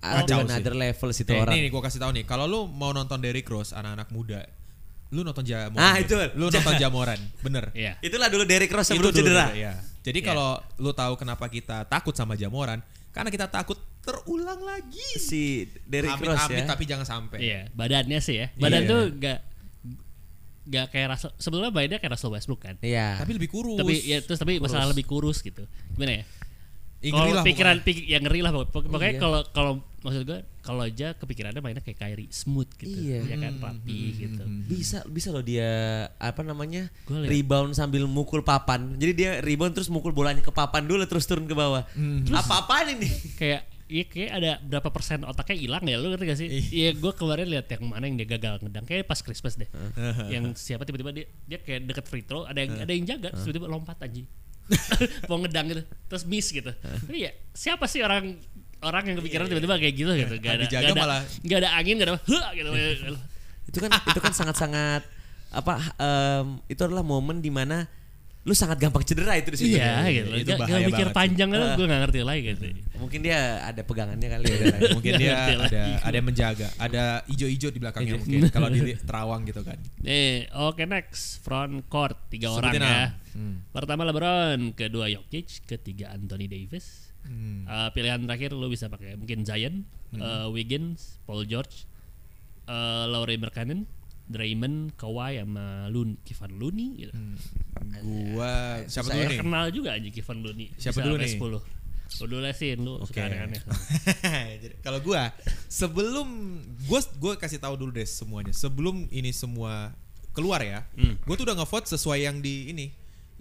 ada Kacau sih. another level situ Nih, orang. Eh, Nih, nih gue kasih tahu nih. Kalau lu mau nonton Derrick Rose anak-anak muda, lu nonton Jamoran. Ah, deh. itu. Lu nonton Jamoran, bener. Iya. Itulah dulu Derrick Rose sebelum dulu cedera. juga, ya. Jadi kalau lu tahu kenapa kita takut sama Jamoran, karena kita takut terulang lagi. Si Derrick Amit-amit, Rose ya. tapi jangan sampai. Iya, badannya sih ya Iya. badan tuh gak gak kayak Russell sebelumnya badannya kayak Russell Westbrook kan Iya. Tapi lebih kurus. tapi ya terus tapi masalah lebih kurus gitu gimana ya Ih, ngeri kalau lah pikiran pokoknya. pikir yang ngeri lah pokok- pokok- pokoknya iya. kalau kalau maksud gue kalau aja kepikirannya mainnya kayak Kyrie smooth gitu Iya. ya kan Hmm, rapi gitu bisa bisa loh dia apa namanya Gua liat. rebound sambil mukul papan. Jadi dia rebound terus mukul bolanya ke papan dulu terus turun ke bawah. Apa-apaan ini? kayak Iya kayak ada berapa persen otaknya hilang ya lu ngerti gak sih? Iya gue kemarin lihat yang mana yang dia gagal ngedang kayak pas Christmas deh. yang siapa tiba-tiba dia dia kayak deket free throw ada yang ada yang jaga terus tiba-tiba lompat anjing. mau ngedang gitu terus miss gitu tapi ya siapa sih orang orang yang kepikiran Iya, tiba-tiba kayak gitu gitu gak ada dijaga gak ada, malah. gak ada angin gak ada huh, gitu itu kan itu kan sangat-sangat apa em, itu adalah momen dimana lu sangat gampang cedera itu di situ. iya gitu itu gak, gak bahaya mikir banget sih. panjang kan Ah. gue gak ngerti lagi gitu Mungkin dia ada pegangannya kali ya. mungkin Nggak dia ngerti ada lagi. ada yang menjaga ada ijo-ijo di belakangnya mungkin kalau di terawang gitu kan Nih, Eh, oke next front court tiga orang Sebutin, ya. Am. Hmm. Pertama LeBron, kedua Jokic, ketiga Anthony Davis. Eh, pilihan terakhir lu bisa pakai mungkin Zion, eh, Wiggins, Paul George, eh, Lauri Markkanen, Draymond, Kawhi sama Lun Kevin Looney gitu. gua siapa Saya dulu nih Kenal juga aja Kevin Looney. Siapa Bisa dulu sampai nih? 10. Lu dulu lah sih lu Oke. suka aneh-aneh. Jadi, Kalau gua sebelum gua gua kasih tahu dulu deh semuanya. Sebelum ini semua keluar ya. Gua tuh udah ngevote sesuai yang di ini.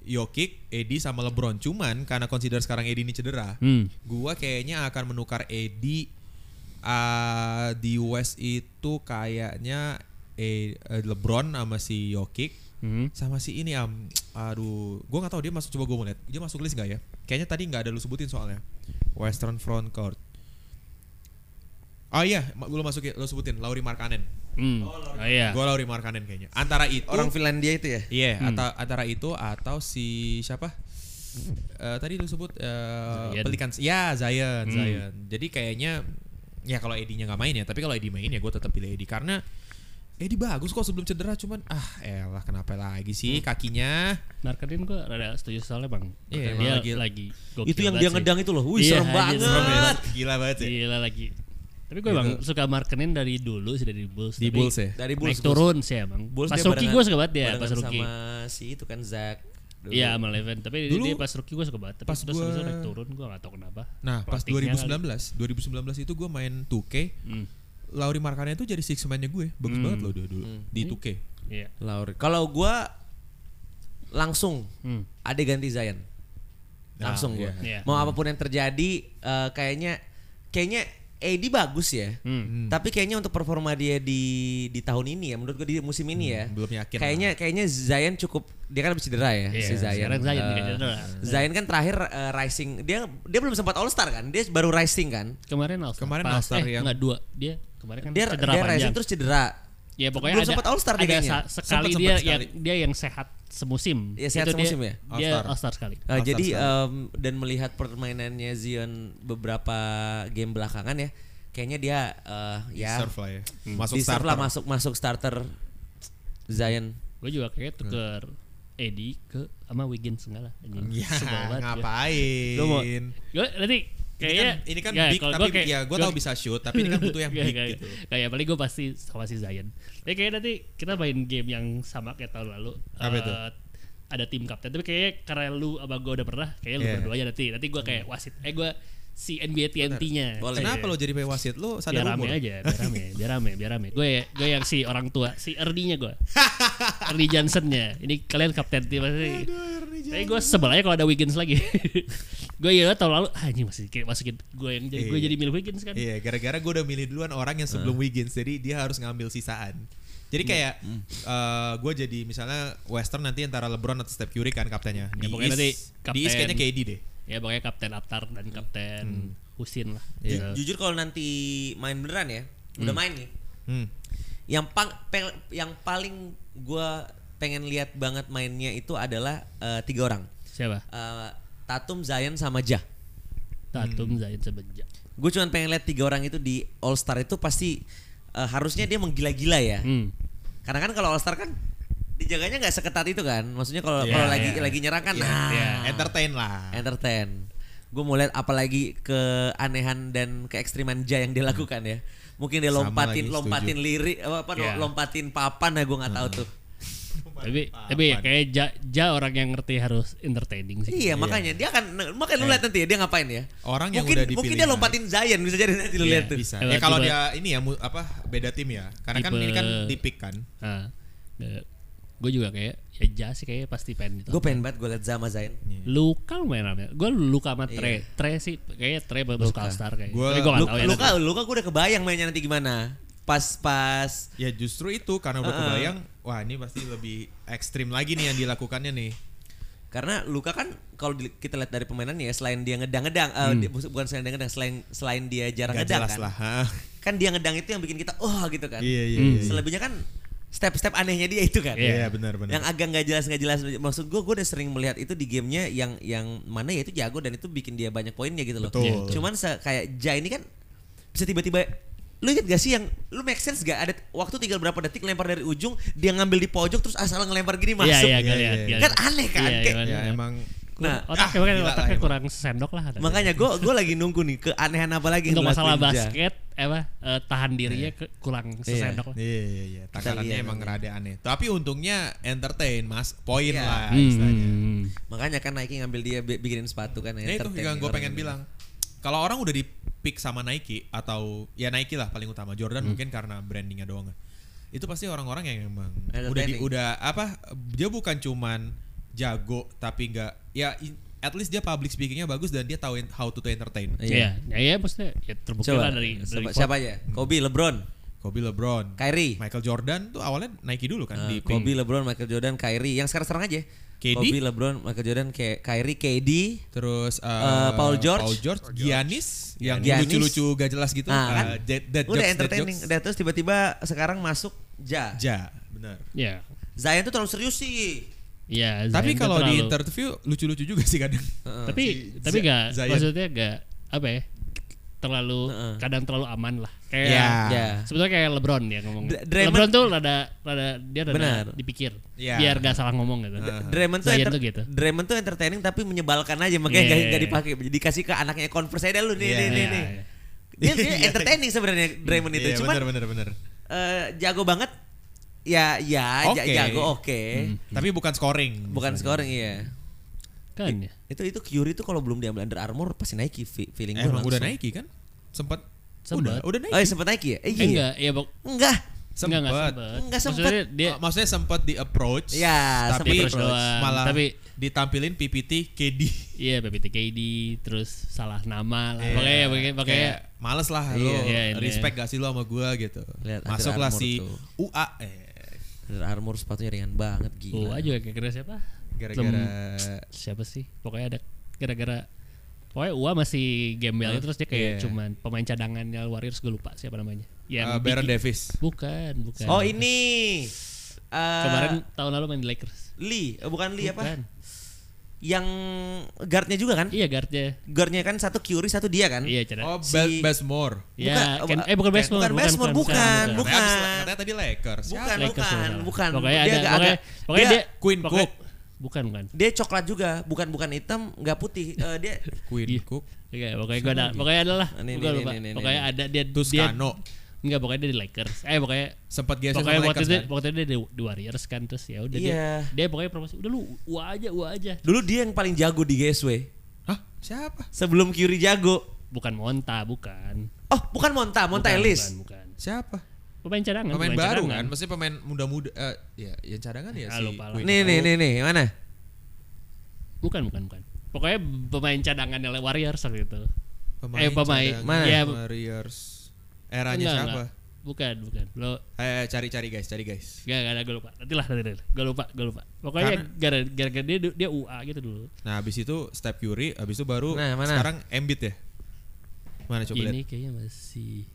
Jokic, Edi sama LeBron. Cuman karena consider sekarang Edi ini cedera, Hmm. gua kayaknya akan menukar Edi ah, di West itu kayaknya eh, eh, LeBron sama si Jokic Hmm. sama si ini am aduh gue nggak tahu dia masuk coba gue mau lihat dia masuk list nggak ya kayaknya tadi nggak ada lu sebutin soalnya Western Front Court oh iya ma- lu masukin lu sebutin Lauri Markkanen Hmm. Oh iya. gue Lauri Markkanen kayaknya antara itu Orang Finlandia itu ya. Ya. iya ata- antara itu atau si siapa Eh, tadi lu sebut eh Zion. Pelicans ya Zion Zion jadi kayaknya ya kalau Edinya nggak main ya tapi kalau Edi main ya gue tetap pilih Edi karena Edi bagus kok sebelum cedera cuman ah elah kenapa lagi sih kakinya Markkanen gue rada setuju soalnya Bang. Iya, dia lagi- lagi lagi itu gokil yang banget dia sih. ngedang itu loh. Wih, Iya, serem anjir, ya. banget. serem banget. gila banget sih Gila lagi. Tapi gue bang suka Markkanen dari dulu sih dari Bulls. Gitu. Di Tapi Bulls ya? Dari Naik Bulls. turun sih emang. Bulls pas dia rookie barengan- gue suka banget dia barengan pas rookie. Sama si itu kan Zach. dulu. Iya sama Leven. Tapi Dulu- dia pas rookie gue suka banget. Tapi pas terus habis itu gua- naik turun gue gak tau kenapa. nah pas Praktiknya 2019 2019 kali. itu gue main 2K Hmm, Lauri Markkanen itu jadi six man-nya gue bagus banget loh dia dulu Hmm. di 2K Iya. Lauri. Kalau gua langsung Hmm. ada ganti Zion. Nah, Langsung gua. iya. Iya. Mau apapun yang terjadi eh, kayaknya kayaknya AD bagus ya. Hmm. Tapi kayaknya untuk performa dia di di tahun ini ya menurut gua di musim ini ya. Hmm, belum yakin Kayaknya kayaknya Zion cukup dia kan habis Nah, cedera ya Iya, si Zion. sekarang Zion Eh, juga cedera. Zion kan terakhir eh, rising dia dia belum sempat All Star kan? Dia baru rising kan? Kemarin All Star. Kemarin pas, All Star eh, yang- nggak, dua. Dia kemarin kan Dia cedera dia panjang. rising terus cedera. Ya pokoknya belum ada, sempat All Star dia ada kayaknya. sa- sekali Sempat- dia sempat yang sekali. dia yang sehat semusim. Iya, sehat Itu dia- semusim ya? All Dia Star. All Star sekali. Uh, All-star jadi sekarang. um, dan melihat permainannya Zion beberapa game belakangan ya, kayaknya dia uh, ya Serve lah ya Hmm. masuk deserve starter lah masuk masuk starter Zion. Gue juga kayaknya tuker Hmm. Eddie ke sama Wiggins segala. Anjing. ya Sebel Iya, banget gua. ngapain Gue mau Gue nanti ini kayaknya kan, ini kan ya, big kalau tapi gua kayak- ya gue gua- tau bisa shoot tapi ini kan butuh yang Kayak- big kayak- gitu Kayak paling gue pasti sama si Zion. Tapi kayaknya nanti kita main game yang sama kayak tahun lalu. Apa Eh, itu? Ada tim kapten. Tapi kayaknya karena lu sama gue udah pernah, kayaknya lu Iya. Hmm. berdua aja nanti. Nanti gue kayak wasit. Eh gue si NBA TNT-nya. Boleh. kenapa lo jadi pay wasit lo Biar sadar Ya, rame umur aja, biar rame, biar rame, biar rame. Gue gue yang si orang tua, si Ernie-nya gue. Ernie Johnson-nya. Ini kalian kapten tim pasti. Tapi gue sebel aja kalau ada Wiggins lagi. gue ya tahun lalu ah, anjing masih kayak masukin gue yang jadi gue Iya. jadi milih Wiggins kan. Iya, gara-gara gue udah milih duluan orang yang sebelum Wiggins, jadi dia harus ngambil sisaan. Jadi kayak eh, gue jadi misalnya Western nanti antara LeBron atau Steph Curry kan kaptennya. Ya, pokoknya nanti di East kayaknya kapten. KD deh. Ya pokoknya kapten Aptar dan kapten Hmm. Husin lah. Ju- Iya. Gitu. Jujur kalau nanti main beneran ya, udah main nih. Hmm. Yang pang, pe- yang paling gua pengen lihat banget mainnya itu adalah uh, tiga orang. Siapa? Uh, Tatum, Zion sama Ja. Hmm. Tatum Zain Sebenja. Gue cuman pengen lihat tiga orang itu di All Star itu pasti uh, harusnya dia menggila-gila ya. Hmm. Karena kan kalau All Star kan dijaganya nggak seketat itu kan. Maksudnya kalau Iya, kalau iya. lagi lagi nyerang kan iya. nah, Ya, Entertain lah. entertain. Gue mau lihat apalagi keanehan dan keekstriman Ja yang dia lakukan ya. Mungkin dia Sama lompatin lagi, lompatin lirik apa, apa, Iya. lompatin papan ya gue nggak tahu tuh. Tapi tapi ya kayak ja, ja orang yang ngerti harus entertaining sih. Iya, makanya dia akan makanya lu lihat nanti ya dia ngapain ya. Orang yang mungkin, udah dipilih Mungkin dia menarik. lompatin Zion bisa jadi nanti lu Iya, lihat tuh. Bisa. Tiba- Ya kalau tiba- dia ini ya mu- apa beda tim ya. Karena kan Tipe- ini kan di pick kan. Nah, gue juga kayak ya ja sih kayaknya pasti pengen gitu. Gue pengen banget gue lihat Zama Zion. Iya. Luka main apa? Gue luka sama Tre. Tre sih kayaknya Tre bagus Luka. All Star kayaknya. Gua- Tapi gua nggak Lu- kan tahu ya. Luka Luka gue udah kebayang mainnya nanti gimana. Pas pas Ya justru itu karena udah kebayang wah ini pasti lebih ekstrim lagi nih yang dilakukannya nih. Karena Luka kan kalau di- kita lihat dari pemainannya ya, selain dia ngedang-ngedang eh, dia- bukan selain ngedang selain selain dia jarang Gak ngedang Hmm. jelas kan. lah. ha. Kan dia ngedang itu yang bikin kita oh gitu kan. Iya iya Hmm. iya. Selebihnya kan step-step anehnya dia itu kan. Iya. Iya benar Yang benar. agak nggak jelas nggak jelas maksud gue gue udah sering melihat itu di gamenya yang yang mana ya itu jago dan itu bikin dia banyak poinnya gitu loh. Betul. Iya. Cuman se- kayak Ja ini kan bisa tiba-tiba lu inget gak sih yang lu make sense gak ada waktu tinggal berapa detik lempar dari ujung dia ngambil di pojok terus asal ngelempar gini masuk. Iya Iya, iya gak lihat. iya, nggak iya. lihat. Kan aneh kan, Iya, kayak- iya, Ya bener. emang Nah, otaknya ah, makanya gila lah kan otaknya emang. kurang sendok lah. katanya. makanya gue gue lagi nunggu nih keanehan apa lagi yang untuk masalah dilakuin Ja. basket apa eh, tahan dirinya ke, kurang sesendok lah. Iya iya iya. Takarannya lihat emang nanti. rada aneh. Tapi untungnya entertain mas, poin Iya. lah istilahnya. Hmm. Makanya kan Nike ngambil dia bi- bikinin sepatu kan Nah itu entertain yang gue orang pengen ini. bilang. Kalau orang udah di pick sama Nike atau ya Nike lah paling utama Jordan Hmm. mungkin karena brandingnya doang. Itu pasti orang-orang yang emang Ada udah di, training. udah apa dia bukan cuman jago tapi nggak ya i- at least dia public speakingnya bagus dan dia tahu en- how to, to entertain. Iya, ya, ya maksudnya ya terbukti Coba, lah dari, dari siapa, siapa aja? Kobe, LeBron, Kobe LeBron, Kyrie. Michael Jordan tuh awalnya Nike dulu kan di Nah, pick. Kobe, LeBron, Michael Jordan, Kyrie. Yang sekarang-sekarang aja. KD? Kobe, LeBron, Michael Jordan, Ke- Kyrie, KD. Terus eh, Eh, Paul George. Paul George, Giannis, yang Giannis. lucu-lucu gak jelas gitu. Nah, kan? Eh, dead- dead Udah jokes, dead entertaining. jokes. Udah terus tiba-tiba sekarang masuk Ja. Ja, benar. Ya. Zion tuh terlalu serius sih. Ya, Tapi Zion tuh kalau di terlalu- interview lucu-lucu juga sih kadang. Eh, tapi si tapi Z- gak Zion. maksudnya gak apa ya terlalu Heeh. kadang terlalu aman lah kayak Ya. Ya. sebetulnya kayak LeBron ya ngomong Dra- Draymond- LeBron tuh rada rada dia rada Benar. Iya. dipikir Ya. biar gak salah ngomong gitu Draymond tuh, Zion enter- tuh gitu. Draymond tuh entertaining tapi menyebalkan aja makanya Iya, nggak iya, nggak iya. dipakai. Dikasih ke anaknya Converse aja lu nih Iya, nih nih. iya, nih. iya. Dia, dia entertaining sebenarnya Draymond itu. Iya, Cuman benar benar benar. eh, jago banget. Ya ya ja- Oke. jago oke. Hmm. Tapi bukan scoring. Bukan scoring iya. kan ya Itu itu Curry itu kalau belum diambil Under Armour pasti Nike fe- feeling Eh, gue emang udah langsung. Nike kan? Sempat udah Sempat. udah Oh, Nike. ya, sempat Nike ya? Eh, eh, iya. enggak ya bok Enggak. enggak enggak Sempat. sempet Enggak sempet. maksudnya dia Oh, maksudnya sempat di approach. tapi Ya, sempet approach doang. malah Tapi- ditampilin PPT KD. iya BPTKD terus salah nama lah Iya. makanya makanya makanya Kayak males lah lo, ya, Iya, ini. respect gak sih lo sama gua gitu. Lihat Under Masuklah Armour si tuh. UA eh Under Armour sepatunya ringan banget gua gila. juga Oh, kayak kira siapa gara-gara eh, Lem- siapa sih pokoknya ada gara-gara pokoknya Ua masih gembelnya terus dia kayak Iya. cuman pemain cadangannya Warriors gue lupa siapa namanya eh, yang Baron bikin- Davis. Bukan, bukan. Ah, Oh, ini. Eh, Kemarin tahun lalu main di Lakers. Lee, Eh, bukan Lee apa? Bukan. Yang guardnya juga kan? Iya guardnya. Guardnya kan satu Curry, satu dia kan? Iya cara. Oh, Si- Be- Besmore. ya, bukan, Ken- bukan- eh bukan bukan- Baseball. bukan Baseball, bukan, bukan. Katanya abis- Katanya tadi Lakers. Bukan, Siapa? Lakers, bukan, salah. bukan. Pokoknya Dia ada, nggak pokoknya, ada. pokoknya Dia dia, Queen pokoknya- Cook. Bukan, bukan. Dia coklat juga, bukan bukan hitam, nggak putih. Eh, dia Queen Iya. Cook. Iya, pokoknya gue ada, pokoknya ada lah. Ini, Gua ini, lupa. ini, ini, Pokoknya ini. ada dia dia Tuscano. enggak pokoknya dia di Lakers. Eh pokoknya Sempat geser Pokoknya sama waktu Lakers itu, kan? waktu itu dia di, di Warriors kan terus ya udah Iya. dia, dia pokoknya promosi udah lu uah aja uah aja dulu dia yang paling jago di GSW. Hah? Siapa? Sebelum Curry jago. bukan Monta bukan Oh, bukan Monta, Monta bukan, Ellis. bukan, bukan. Siapa? pemain cadangan Pemain baru cadangan. kan? Maksudnya pemain muda-muda eh, ya yang cadangan ya si Ah, lupa lah. Queen Nih, Cook. nih, nih, nih, mana? Bukan, bukan, bukan. Pokoknya pemain cadangannya Le- Warriors waktu itu. Pemain eh, pemain. cadangan Mana? Ya, Warriors. Eranya enggak, siapa? enggak. Bukan, bukan. Lo Eh cari-cari guys, cari guys. enggak enggak ada gue lupa. Nanti lah, nanti, nanti. Gue lupa, gue lupa. Pokoknya gara gara gara dia dia UA gitu dulu. Nah, habis itu Step Curry, habis itu baru Nah, mana? sekarang Embiid ya. Mana coba Ini lihat? kayaknya masih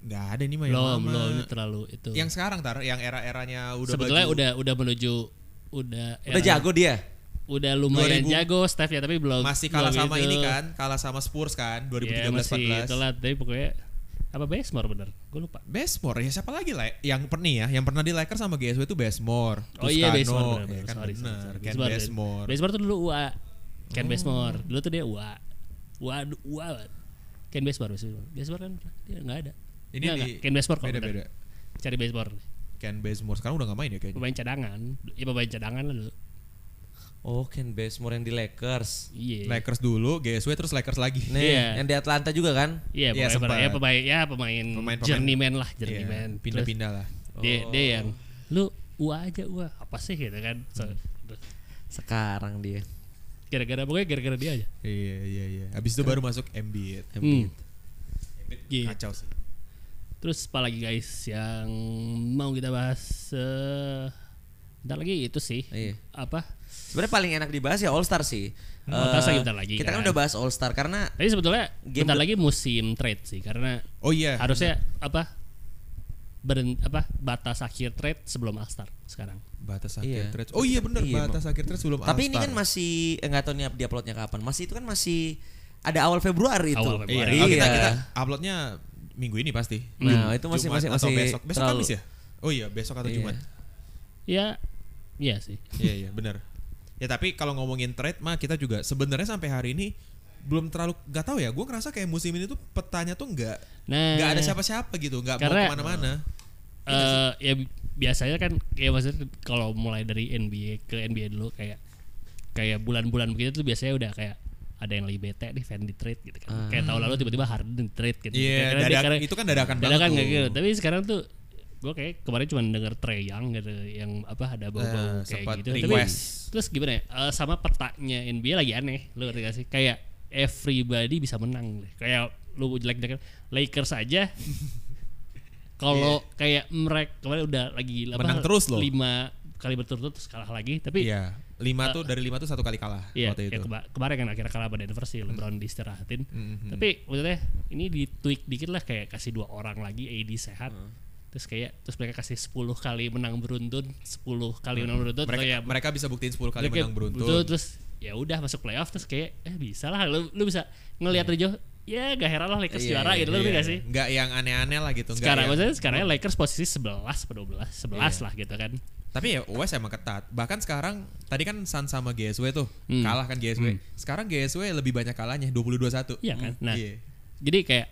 Enggak ada nih mah yang belum, lama. belum ini terlalu itu. Yang sekarang tar, yang era-eranya udah sebetulnya baju. udah udah menuju udah Udah era- jago dia. udah lumayan 2000. jago Steph ya tapi belum masih kalah belum sama itu. ini kan, kalah sama Spurs kan 2013 Ya, gitu. masih 14. telat tapi pokoknya apa Basmore bener gue lupa Besmore ya siapa lagi lah yang pernah nih ya yang pernah di Lakers sama GSW itu Besmore Oh iya Toscano, Baseball bener, ya kan sorry, bener, sorry, Ken sorry. Oh. Baseball, Besmore Baseball tuh dulu UA Ken Baseball Dulu tuh dia UA UA du- UA banget. Ken Baseball Baseball Baseball kan dia nggak ada ini Nggak, di nggak. Ken Baseball kalau beda bener. beda Cari Baseball Ken Besmore sekarang udah gak main ya kayaknya Pemain cadangan Ya pemain cadangan lah dulu Oh, Ken Bazemore yang di Lakers. Iya Lakers dulu GSW terus Lakers lagi Nih, Iya. yang di Atlanta juga kan? Iya Iya, sempat. pokoknya pemain- ya pemain Ya pemain, Pemain-pemain. Journeyman lah Iya, Journeyman Terus pindah-pindah Oh. lah dia, dia yang Lu UA aja UA Apa sih gitu kan Hmm. So, terus Sekarang dia. Gara-gara Pokoknya gara-gara dia aja iya iya iya abis itu baru masuk Embiid Hmm. Embiid Gitu. kacau sih Terus apa lagi guys yang mau kita bahas? Eh, Bentar lagi itu sih. Iya. Apa? Sebenarnya paling enak dibahas ya All Star sih. All Stars Eh, lagi bentar lagi Kita kan kan. udah bahas All Star karena Tapi sebetulnya Game bentar de- Eh, lagi musim trade sih karena Oh iya. harusnya apa? Beren, apa batas akhir trade sebelum All Star sekarang. batas akhir Iya. trades. Oh iya bener Iya, batas akhir trades belum tapi ini All-Star. kan masih eh, nggak tahu nih di uploadnya kapan. Masih itu kan masih ada awal Februari itu. Iya, Awal Februari. oh, Iya. kita, kita uploadnya minggu ini pasti. Nah, itu masih Jumat masih atau masih besok. Besok terlalu- Kamis ya? Oh iya, besok atau Iya. Jumat. Ya, iya sih. Iya iya benar. Ya tapi kalau ngomongin trade mah kita juga sebenarnya sampai hari ini belum terlalu nggak tahu ya. Gue ngerasa kayak musim ini tuh petanya tuh nggak Nah, nggak Eh. ada siapa-siapa gitu, nggak mau Karena- kemana-mana. Iya eh ya bi- biasanya kan kayak maksudnya kalau mulai dari NBA ke NBA dulu kayak kayak bulan-bulan begitu tuh biasanya udah kayak ada yang lebih bete nih fan di trade gitu kan. Kayak tahun lalu tiba-tiba Harden di trade gitu. Iya, Karena dia- dadak- karena- itu kan dadakan banget dadakan tuh. kayak gitu. Tapi sekarang tuh gue kayak kemarin cuma denger Trey Young gitu yang apa ada bau-bau Eh, kayak sempat gitu. request. Tapi terus gimana ya? Eh, sama petanya NBA lagi aneh. Lu ngerti gak sih? Kayak everybody bisa menang. Kayak lu jelek-jelek Lakers aja kalau kayak mereka kemarin udah lagi apa, Iya. Menang terus loh. lima kali berturut-turut terus kalah lagi tapi Iya, lima Eh. tuh dari lima tuh satu kali kalah Iya, waktu ya itu. keba- kemarin kan akhirnya kalah pada Denver sih, LeBron diistirahatin. Mm-hmm. Tapi maksudnya ini di tweak dikit lah kayak kasih dua orang lagi AD sehat. Terus kayak terus mereka kasih 10 kali menang beruntun, 10 kali menang beruntun mereka, atau ya mereka bisa buktiin 10 kali mereka menang beruntun. terus ya udah masuk playoff terus kayak eh bisa lah lu, lu bisa ngelihat dari jauh ya gak heran lah Lakers Iya, juara iya, gitu lu ngerti gak sih? Iya. Nggak yang aneh-aneh lah gitu. nggak Sekarang yang- maksudnya sekarang Lakers posisi 11 per 12, 11 Iya. lah gitu kan. Tapi ya West emang ketat. Bahkan sekarang tadi kan Sun sama GSW tuh Hmm. kalah kan GSW. Sekarang GSW lebih banyak kalahnya 22-1. Iya kan? Hmm, Nah. iya. Jadi kayak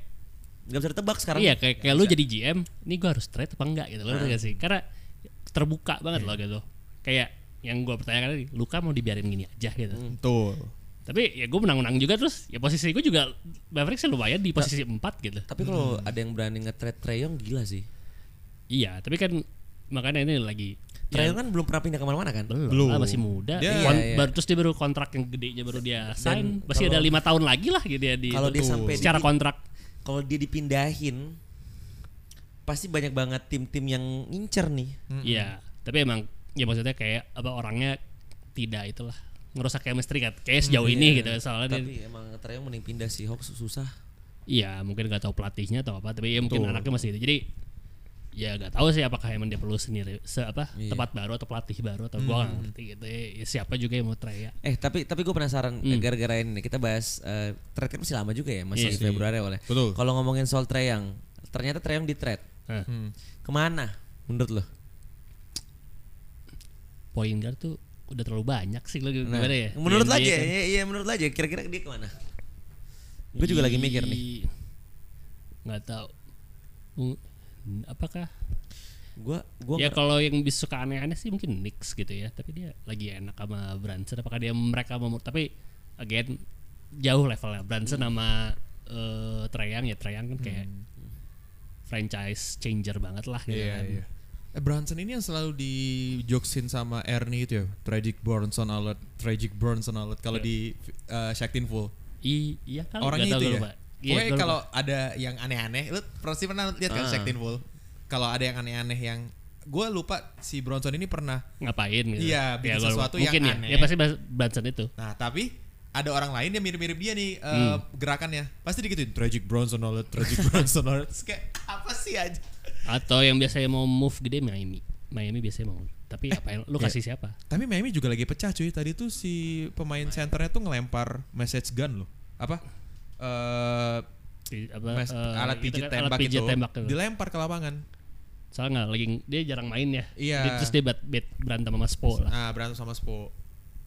Gak bisa ditebak sekarang. iya kayak, kayak lu jadi GM, ini gua harus trade apa enggak gitu loh Ah. gak sih? Karena terbuka banget Iya. loh gitu. Kayak yang gua pertanyakan tadi, Luka mau dibiarin gini aja gitu. Hmm. Betul. Tapi ya gue menang-menang juga terus ya posisi gue juga Mavericks ya lumayan di posisi 4 gitu. Tapi kalau ada yang berani nge-trade Treyong gila sih. Iya, tapi kan makanya ini lagi Treyong kan belum pernah pindah kemana-mana kan? belum, Belum. lah, masih muda. Dia- Kon- Iya, iya. Baru terus dia baru kontrak yang gedenya baru dia sign. Masih kalau- ada lima tahun lagi lah gitu ya di Kalau dia Betul. sampai di- secara kontrak. Kalau dia dipindahin pasti banyak banget tim-tim yang ngincer nih. Iya, tapi emang ya maksudnya kayak apa orangnya tidak itulah ngerusak chemistry kan kayak sejauh ini gitu soalnya dia, Mm, iya. Tapi emang Treyong mending pindah sih, Hawks susah. iya mungkin nggak tahu pelatihnya atau apa tapi ya mungkin anaknya masih itu jadi ya nggak tahu sih apakah emang dia perlu sendiri se apa Iya. tempat baru atau pelatih baru atau gua nggak ngerti gitu ya, ya siapa juga yang mau try ya Eh tapi tapi gue penasaran gara-gara ini kita bahas eh, trade kan masih lama juga ya masih Iya sih. Februari oleh. Betul. Kalau ngomongin soal Treyang, ternyata Treyang di trade. Nah, Kemana? Hmm. Menurut lo? point guard tuh udah terlalu banyak sih lo Nah, gimana ya Di menurut lo NBA aja, kan. iya, iya, menurut lo aja. Kira-kira dia kemana? Gue ya, juga lagi mikir nih. Ih, nggak tahu Mung- apakah Gue gue ya kalau yang bisa suka aneh-aneh sih mungkin Nix gitu ya tapi dia lagi enak sama Branson apakah dia mereka mau tapi again jauh levelnya Branson sama eh Treyang ya Treyang kan kayak franchise changer banget lah Hmm. gitu Iya, kan. iya. Eh, Bronson ini yang selalu di jokesin sama Ernie itu ya. Tragic Bronson alert, tragic Bronson alert kalau di uh, Shaq Tin Full. I- iya kan Orangnya nggak Iya. tahu, itu ya. gua lupa. Iya, Pokoknya gua lupa. Ah. kalau ada yang aneh-aneh, lu pasti pernah lihat kan Shaq Tin Full? Kalau ada yang aneh-aneh yang gue lupa si Bronson ini pernah ngapain gitu Iya, Ya, bikin gua lupa. sesuatu yang mungkin ya. aneh. ya pasti Branson itu Nah, tapi ada orang lain yang mirip-mirip dia nih eh, Hmm. gerakannya. Pasti digituin tragic Bronson alert, tragic Bronson alert. Terus kayak apa sih aja? atau yang biasanya mau move gede Miami Miami biasanya mau tapi apa yang Iya. lu kasih siapa Tapi Miami juga lagi pecah cuy. Tadi tuh si pemain centernya tuh ngelempar message gun loh. Apa? Eh Di- apa, mes- eh, alat itu pijit kan, tembak, alat pijit itu, tembak itu. dilempar ke lapangan. soalnya nggak lagi dia jarang main ya Iya. Dia- terus dia bat, bat- berantem sama Spo lah Nah, berantem sama Spo.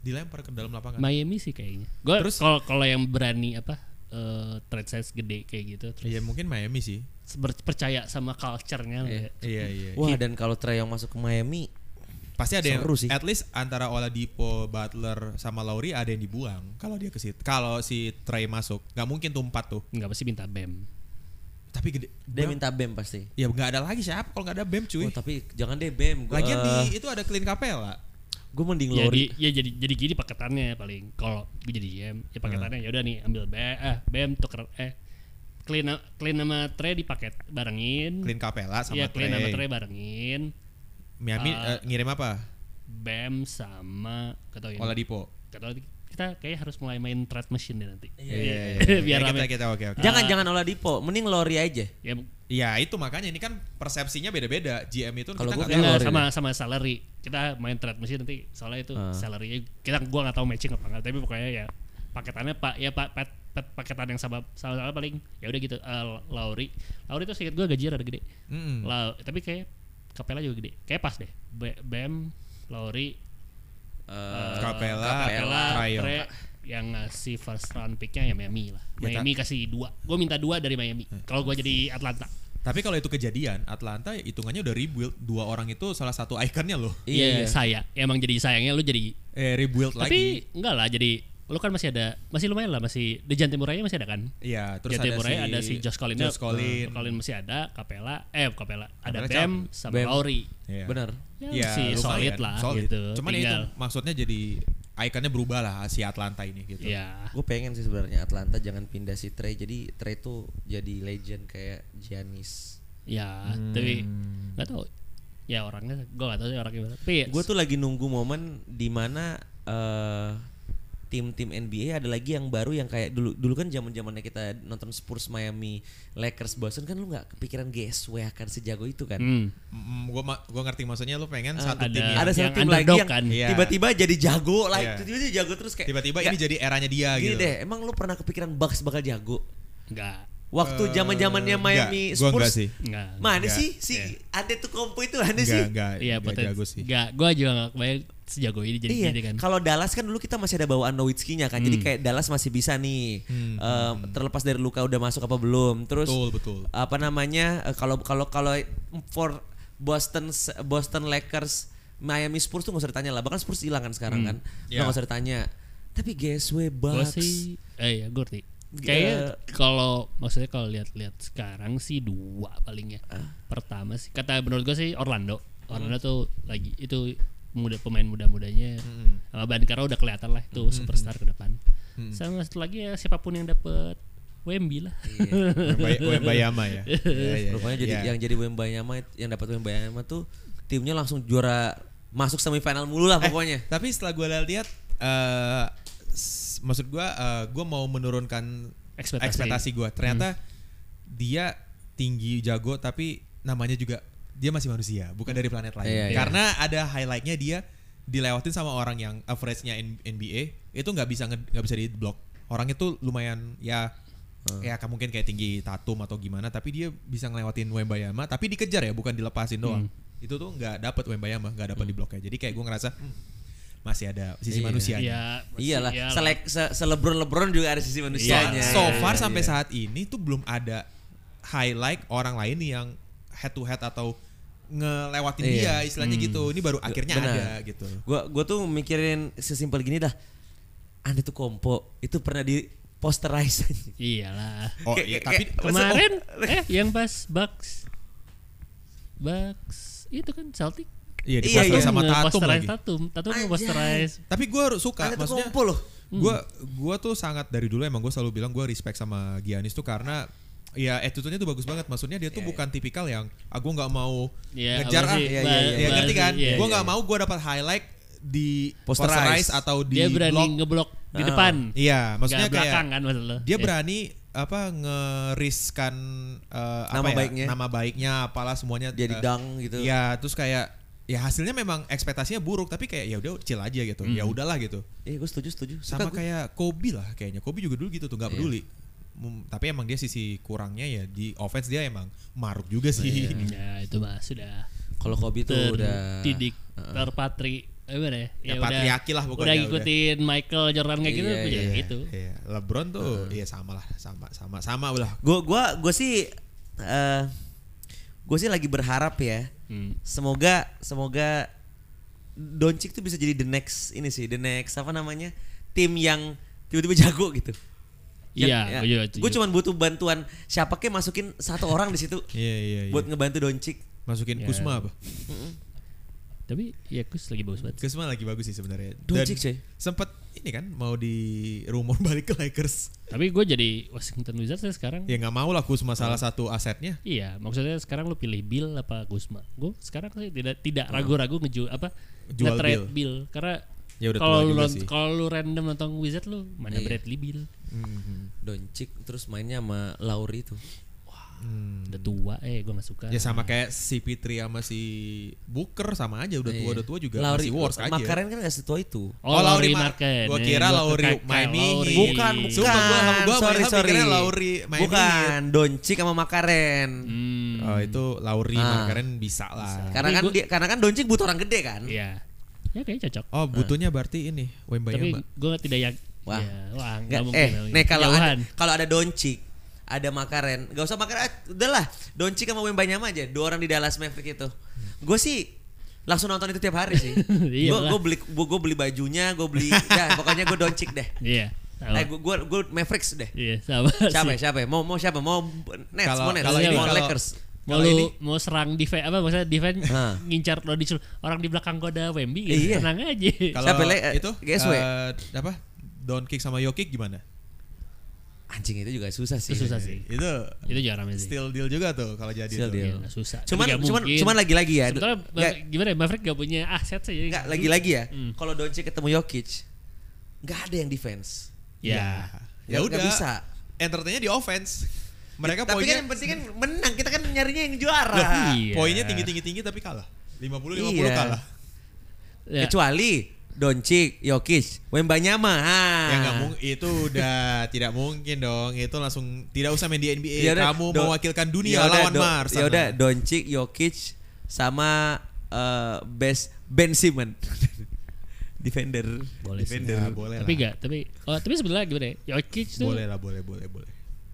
Dilempar ke dalam lapangan. Miami sih kayaknya gue Terus- kalau kalau yang berani apa eh trade size gede kayak gitu terus Iya, mungkin Miami sih. ber- percaya sama culture-nya lah ya. Iya, iya. Wah dan kalau Treyong masuk ke Miami, Pasti ada yang Seru sih. at least antara Oladipo, Butler sama Lauri ada yang dibuang kalau dia ke situ. Kalau si Trey masuk, nggak mungkin tuh empat tuh. nggak pasti minta bem Tapi gede. dia Bram- minta bem pasti. Ya nggak ada lagi siapa kalau nggak ada Bam cuy. Oh, tapi jangan deh bem. Gua, Lagian eh, di itu ada Clean Capella. gue mending ya, Lori. di- ya jadi jadi gini paketannya paling kalau gue jadi GM ya Hmm. paketannya ya udah nih ambil bem ah, bem tuker eh clean clean sama Trey dipaket barengin Clean Capella sama Iya, clean Iya, sama Trey. Trey barengin Miami eh, ngirim apa? Bam sama ketahui Oladipo. kita kayak harus mulai main thread machine deh nanti. Iya, Biar Ya, rame. kita, kita oke oke. Jangan jangan Oladipo, mending Lori aja. Ya, Ya itu makanya ini kan persepsinya beda-beda. GM itu Kalau gua kita nggak kayak tahu. enggak, Lori sama sama salary. Kita main thread machine nanti soalnya itu salary kita gua nggak tahu matching apa enggak, tapi pokoknya ya paketannya Pak ya Pak pet, pet- paketan yang sama sama, sama paling ya udah gitu eh, Lauri. Lauri itu sedikit gua gajinya rada gede. Mm-mm. Lau- tapi kayak Capella juga gede. Kayak pas deh. B- Bam, Lauri, Ah, Eh, Capella, Capella, Trail. Trae, yang ngasih first round picknya ya Miami lah. Ya, Miami kasih dua. Gue minta dua dari Miami. Kalau gue jadi Atlanta. Tapi kalau itu kejadian, Atlanta hitungannya udah rebuild. Dua orang itu salah satu ikonnya loh. Iya saya. Emang jadi sayangnya lu jadi. Eh rebuild Tapi lagi. enggak lah jadi lu kan masih ada masih lumayan lah masih Dejan Murray masih ada kan? Iya, terus Dejan ada Murray si, ada si Josh Collins. Josh Collins. Eh, Collins masih ada, Capella, eh Capella, ada Capella Bam sama Bam. Lowry. Iya. Bener. Ya, Iya, masih lumayan. solid lah Solid. gitu. Cuman ya Tinggal, itu maksudnya jadi ikonnya berubah lah si Atlanta ini gitu. Ya. Gue pengen sih sebenarnya Atlanta jangan pindah si Trey. Jadi Trey tuh jadi legend kayak Giannis. Ya, Hmm. tapi nggak tahu. Ya orangnya gue nggak tahu sih orangnya gimana. Tapi Gue tuh lagi nunggu momen dimana eh, tim-tim NBA ada lagi yang baru yang kayak dulu dulu kan zaman zamannya kita nonton Spurs Miami Lakers Boston kan lu nggak kepikiran GSW akan sejago itu kan? Hmm. Mm, gua ma- gua ngerti maksudnya lu pengen satu Ah, ada- tim yang Ada Iya, yang satu tim lagi underdog yang kan? Iya. tiba-tiba jadi jago lah, Iya. tiba-tiba jadi jago terus kayak tiba-tiba nggak, ini jadi eranya dia gini gitu. deh, emang lu pernah kepikiran Bucks bakal jago? Enggak. Waktu Eh, zaman-zamannya Miami enggak, gua Spurs. enggak sih. Enggak. Mana Enggak. sih si Ante tuh kompo itu mana Enggak, sih? enggak, Iya, enggak potensi. jago sih. Enggak, gua juga enggak kebayang sejago ini jadi iya. gini kan. Hmm. Kalau Dallas kan dulu kita masih ada bawaan Nowitzki-nya kan. Jadi kayak Dallas masih bisa nih. eh, terlepas dari luka udah masuk apa belum. Terus Hmm, Betul, betul. apa namanya? eh, Kalau kalau kalau for Boston Boston Lakers Miami Spurs tuh gak usah ditanya lah. Bahkan Spurs hilang kan sekarang kan. Iya. Lo gak usah ditanya. Tapi GSW Gua Bucks. sih eh ya gue ngerti. Kayaknya Eh. kalau maksudnya kalau lihat-lihat sekarang sih dua palingnya. Ah. Pertama sih kata menurut gue sih Orlando. Hmm. Orlando tuh lagi itu muda pemain muda-mudanya Hmm. sama Bankero udah kelihatan lah itu superstar ke depan. Sama satu lagi ya siapapun yang dapet Wemby lah. Wembay- Wembayama ya. Iya, iya, iya. Rupanya jadi Iya. yang jadi Wembayama yang dapat Wembayama tuh timnya langsung juara masuk semifinal mulu Eh, lah pokoknya. Tapi setelah gue lihat eh s- maksud gue gue mau menurunkan ekspektasi, Ekspektasi. gue. Ternyata Hmm. dia tinggi jago tapi namanya juga dia masih manusia, bukan dari planet lain. Iya, iya. Karena ada highlightnya dia dilewatin sama orang yang average-nya N- NBA itu nggak bisa nge- nggak bisa di block. Orangnya tuh lumayan ya Hmm. ya kayak mungkin kayak tinggi Tatum atau gimana tapi dia bisa ngelewatin Wembayama tapi dikejar ya bukan dilepasin doang. Hmm. Itu tuh nggak dapet Wembayama, nggak dapet di bloknya. Jadi kayak gue ngerasa "Hmm, masih ada sisi Iya. manusianya. Iya, masih- Iyalah, iyalah. selek se- selebron lebron juga ada sisi So, manusianya. Iya. Iya, so far sampai saat ini tuh belum ada highlight orang lain yang head to head atau ngelewatin Iya. dia istilahnya gitu. Ini baru akhirnya Benar. ada gitu. Gua gua tuh mikirin sesimpel gini dah. Anda tuh kompo itu pernah di posterize. Iyalah. Oh, Kayak- iya, kayak- tapi kayak- Kemarin eh yang pas Bucks Bucks itu kan Celtic iya iya, diposterize iya. sama Tatum Nge-posterize lagi. Tatum, Tatum Anjay. nge-posterize. Tapi gue suka Anda tuh maksudnya kompo loh. Hmm. gue gua tuh sangat dari dulu emang gue selalu bilang gue respect sama Giannis tuh karena ya attitude-nya tuh bagus banget maksudnya dia Iya, tuh bukan tipikal yang aku nggak mau Iya, ngejar ah apa sih? ya, ya, Ba- ba- ngerti kan iya, gue iya. nggak mau gue dapat highlight di Posterize. posterize atau di dia berani block ngeblok di Ah. depan. Iya, maksudnya Nggak belakang kayak kan maksud lo. dia Ya. berani apa ngeriskan eh, apa Nama ya, baiknya. nama baiknya apalah semuanya Jadi eh, dang gitu. Iya, terus kayak ya hasilnya memang ekspektasinya buruk tapi kayak ya udah chill aja gitu. Ya udahlah gitu. Eh, gue setuju setuju. Suka Sama gua. kayak Kobe lah kayaknya. Kobe juga dulu gitu tuh Iya. nggak peduli. Mm, tapi emang dia sisi kurangnya ya di offense dia emang maruk juga sih. Iya. Ya itu mah sudah kalau Kobe tuh udah terdidik, terpatri. Eh, Gimana ya? Ya, patriarki lah pokoknya, Udah udah. ngikutin Michael Jordan kayak gitu, Iya, ya iya. gitu. Iya, LeBron tuh iya sama lah, sama sama sama lah. Gue gua gua sih eh gue sih lagi berharap ya. Hmm. Semoga semoga Doncic tuh bisa jadi the next ini sih, the next apa namanya? Tim yang tiba-tiba jago gitu. Iya, iya, gue cuman butuh bantuan siapa kek masukin satu orang di situ Iya iya iya. buat ngebantu Doncic. Masukin Iya. Kusma apa? Tapi ya Kus lagi bagus banget. Kusma lagi bagus sih sebenarnya. Dan Doncic, coy. sempet ini kan mau di rumor balik ke Lakers. Tapi gue jadi Washington Wizards ya sekarang. Ya nggak mau lah Kuzma salah satu asetnya. Iya, maksudnya sekarang lu pilih Bill apa Guzma? Gue sekarang sih tidak tidak ragu-ragu ngejual apa Jual nge-trade Bill. karena Ya udah kalau tua lu juga nont- sih. kalau lu random nonton Wizard lu mana Iya. Bradley Bill Mhm. Doncic terus mainnya sama Lauri itu. Hmm. udah tua eh gue nggak suka. Ya sama kayak si Pitri sama si Booker sama aja udah tua udah tua juga Iya. Lauri, masih worse aja. Makaren kan gak setua itu. Oh, Lauri Mar- Marken. Gua Eh, kira gua Lauri kekak, Maini. Lauri. Bukan, Ih. bukan. Sumpah, gua- gua sorry, malah sorry. mikirnya Lauri mainin. Bukan, Doncic sama Makaren. Hmm. Oh, itu Lauri Ah. Makaren bisa lah. Karena Tapi kan gua- dia, karena kan Doncic butuh orang gede kan. Iya. Ya kayaknya cocok. Oh, butuhnya berarti ini Tapi Wembayama. gue tidak yakin. Wah. Ya, wah, nggak Nggak- mungkin. eh, Lauri. nih kalau ada, Jauhan. kalau ada Doncic, ada Makaren, gak usah Makaren, ah, udahlah. Doncic sama Wembanyama aja, dua orang di Dallas Maverick itu. Gue sih langsung nonton itu tiap hari sih. Iya gue lah. gue beli gue, gue beli bajunya, gue beli, ya pokoknya gue Doncic deh. Iya. sama. Eh, gue gue gue Mavericks deh. Iya, sama. Siapa sih. Iya, siapa? Mau mau siapa? Mau Nets, Kalau- mau Nets, kalau ini- mau kalau- Lakers. Mau Kalau lu- ini- mau serang defense apa maksudnya defense Hah. ngincar lo disuruh orang di belakang gua ada Wemby gitu. Iya. Tenang aja. Kalau Siapa, Le? Eh, itu GSW? eh, apa? Don Kick sama Yo Kick gimana? Anjing itu juga susah sih. Itu susah Iya sih. Itu Itu juara sih. still deal juga tuh kalau jadi Still tuh. deal. Iya, nggak susah. Cuman Tapi nggak cuman mungkin. cuman lagi-lagi ya. Sementara Ma- Nggak- gimana ya Maverick gak punya aset sih. jadi- Enggak, lagi-lagi ya. Hmm. Kalau Doncic ketemu Jokic, enggak ada yang defense. Ya. Ya udah. Nggak- nggak bisa. Entertainnya di offense. Mereka Tapi poinnya kan yang penting kan menang. Kita kan nyarinya yang juara. Loh, iya. poinnya tinggi-tinggi tinggi tapi kalah. 50 50 Iya. kalah. Ya. Kecuali Doncic, Jokic, Wembanyama. Ah. Ya nggak mungkin itu udah tidak mungkin dong. Itu langsung tidak usah main di NBA. Ya udah, Kamu Do- mewakilkan dunia ya udah, lawan Do- Mars. Ya udah Doncic, Jokic sama eh, best Ben Simmons. Defender. Boleh sih. Defender Nah, boleh Tapi lah. enggak, tapi oh, tapi sebenarnya gimana ya? Jokic tuh Boleh lah, boleh, boleh, boleh.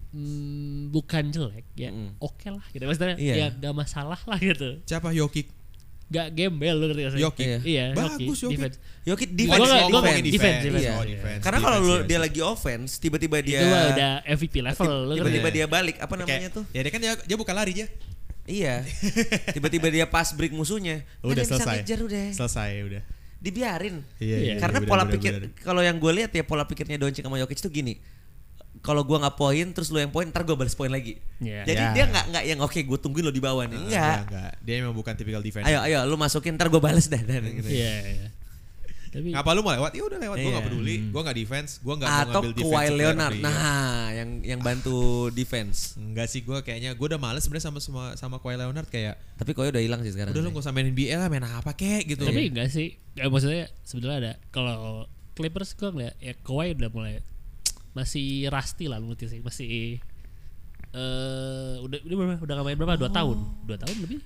hmm, bukan jelek ya. Mm. Oke lah gitu. Maksudnya Iya. ya gak masalah lah gitu. Siapa Jokic? Gak gembel lu ngerti nggak sih? Jokic. Iya, Bagus, Jokic. Defense. Jokic Gua defense. nggak- Ngomongin gua ngomongin defense. defense, defense. Oh, defense. Iya. defense, Karena kalau defense, lu defense. dia lagi offense, tiba-tiba dia Itu mah udah MVP level lu ngerti Iya. tiba-tiba nggak? dia balik apa namanya Kayak- tuh? Ya dia kan dia, dia bukan lari dia. Iya. Tiba-tiba dia pas break musuhnya. Udah Nggak bisa selesai. ngejar udah. Selesai udah. Dibiarin. Iya, Iya. iya, Karena benar, pola benar, pikir benar. kalau yang gue lihat ya pola pikirnya Doncic sama Jokic tuh gini. Kalau gua nggak poin terus lu yang poin, ntar gue balas poin lagi. Iya. Jadi Iya. Ah, dia nggak nggak yang oke gue tungguin lo di bawah nih. Enggak, Enggak. enggak. Dia memang bukan tipikal defense. Ayo ayo lu masukin ntar gue balas dah. dah, gitu. Iya, iya. Tapi Ngapa lu mau lewat? Ya udah lewat. Gua enggak Iya. peduli. Gua enggak defense, gua enggak mau Atau ngambil defense. Kawhi Leonard. Nah, yang yang bantu defense. Enggak sih gua kayaknya gua udah males sebenarnya sama sama sama Kawhi Leonard kayak Tapi Kawhi udah hilang sih sekarang. udah lu gak usah main NBA lah, main apa kek gitu. Tapi enggak sih. Ya, maksudnya sebenarnya ada kalau Clippers gua ngeliat ya Kawhi udah mulai masih rusty lah lu ngerti sih. Masih eh udah udah berapa udah nggak main berapa? 2 Oh. tahun. 2 tahun lebih.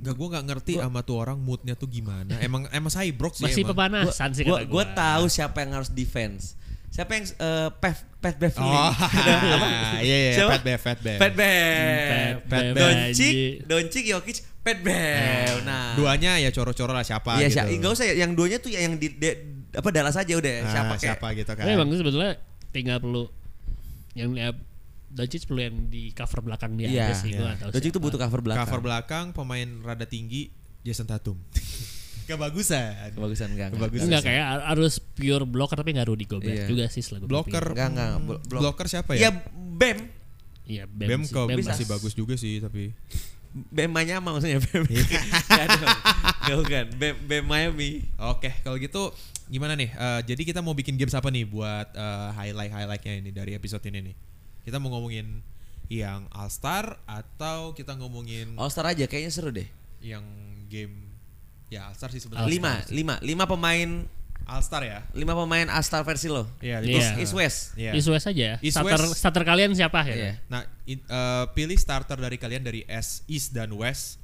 Enggak gua nggak ngerti sama tuh orang moodnya tuh gimana. Emang emang cyborg sih Masih emang. pemanasan sih gua, kata gua. gua tahu siapa yang harus defense. Siapa yang eh Pat Pat Beverly? Oh, Apa? iya iya, Siapa? Pat Bev, Pat Bev. Pat Bev. Pat Hmm, Bev, Doncic, anjing. Doncic, Jokic, Pat Bev. Nah. Duanya ya coro-coro lah siapa Iya, gitu. siapa? Enggak usah ya, yang duanya tuh ya yang di de- apa Dallas aja Ah, udah siapa siapa, kayak. gitu kan. Tapi emang sebetulnya tinggal perlu yang ya, Doncic perlu yang di cover belakang dia Iya. aja sih Ya, gua nggak tahu. Doncic tuh siapa. butuh cover belakang. Cover belakang pemain rada tinggi Jason Tatum. Kebagusan. Kebagusan enggak. enggak. Kebagusan. Enggak kayak harus pure blocker tapi enggak Rudy Gobert Iya. juga sih selagi blocker. Enggak, enggak, hmm, blo- blok. blocker siapa Ya ya? Bam. Iya, Bam, Bem sih. kok Bam masih lah. bagus juga sih tapi Bam Miami maksudnya Bam. Iya. Enggak dong. Enggak bukan. Bam Bam Miami. Oke, kalau gitu gimana nih? Eh, jadi kita mau bikin games apa nih buat eh, highlight highlightnya ini dari episode ini nih? Kita mau ngomongin yang All Star atau kita ngomongin All Star aja kayaknya seru deh. yang game ya All Star sih Oh, sebenarnya. Lima, lima, lima pemain All Star ya. lima pemain All Star versi lo. Iya, lima. Iya. East West. Iya. East West aja. ya. East starter West. starter kalian siapa ya? Iya. Nah, in- eh, pilih starter dari kalian dari S, East dan West.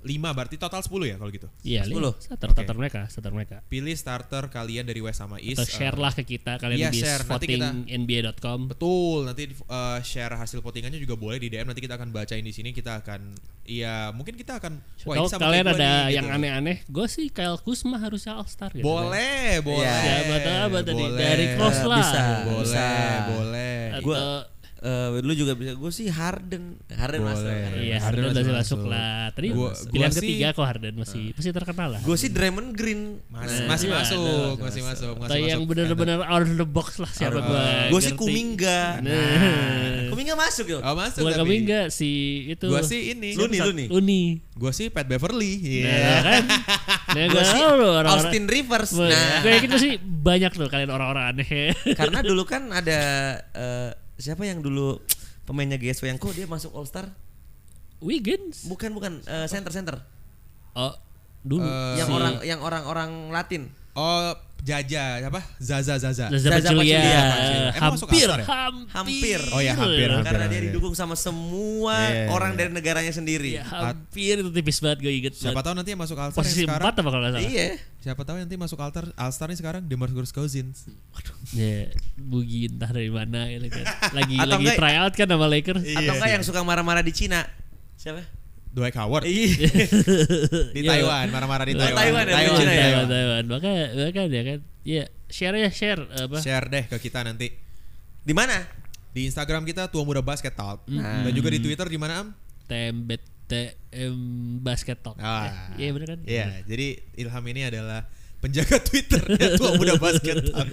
5 berarti total 10 ya kalau gitu. Iya, Li. Sepuluh. starter Oke. starter mereka, starter mereka. Pilih starter kalian dari West sama East. Atau share eh, lah ke kita iya, kalian di share. Nanti voting kita- nba.com. Betul, nanti uh, share hasil votingannya juga boleh di DM nanti kita akan bacain di sini kita akan ya mungkin kita akan wah, ini Kalau sama kalian kayak gua ada nih, yang gitu. aneh-aneh, gue sih Kyle Kuzma harusnya All Star gitu. Boleh, boleh. Ya, buat apa tadi? boleh, Dari close lah. Bisa. Boleh, Bisa. boleh. Atau- Gua- eh lu juga bisa gue sih Harden Harden Boleh. masuk Harden. Harden Iya Harden masih masih masuk. masuk lah. Tadi Gua- pilihan gua sih- Ah. ketiga kok Harden masih masih terkenal lah. gue sih Draymond Green Masih, Nah, masih iya, masuk, masih masuk, Atau masih yang masuk. benar-benar out of the box lah siapa Out of- gua. gue sih ngerti. Kuminga Nah. Kuminga masuk yo Oh, masuk Bukan tapi. kami enggak si itu. Gua sih ini. Lu nih, lu nih. Luni. Gua sih Pat Beverly. Iya. Nah, kan. Nah, gue gua sih tahu loh orang-orang. Austin Rivers Gua- nah Gua yakin tuh gitu sih banyak loh kalian orang-orang aneh. karena dulu kan ada eh, siapa yang dulu pemainnya GSW yang kok dia masuk All Star Wiggins. bukan bukan eh, center center Oh, dulu. Eh, yang si orang yang orang-orang Latin Oh, Jaja apa? Zaza Zaza. Zaza Zaza Pachulia. Eh, Pachulia. Emang masuk Hampir, All-Star ya? hampir. Oh iya, hampir, hampir. karena dia iya. didukung sama semua Iya, iya, orang iya. dari negaranya sendiri Ya, hampir itu tipis banget gue inget. Siapa banget. tahu nanti yang masuk Alstar Posisi yang sekarang. empat apa kalau nggak salah? iya Siapa tahu nanti masuk Alstar Alstar nih sekarang Demarcus Cousins. Ya, bugi entah dari mana gitu kan. Lagi Atau lagi enggak- Iya. tryout kan sama Lakers. Iya atau enggak yang suka marah-marah di Cina siapa Dwight Howard iya di Taiwan, marah-marah di Di Taiwan. Taiwan ya, Taiwan, di Cina ya? Taiwan, Taiwan. Maka maka ya kan. Ya, share ya share apa? Share deh ke kita nanti. di mana Di Instagram kita Tua Muda Basket Talk. Dan juga di Twitter di mana Am? Tembet TM basket talk. Ah. Eh, Iya bener kan? Iya, jadi Ilham ini adalah penjaga Twitter Tua Muda Basket Talk.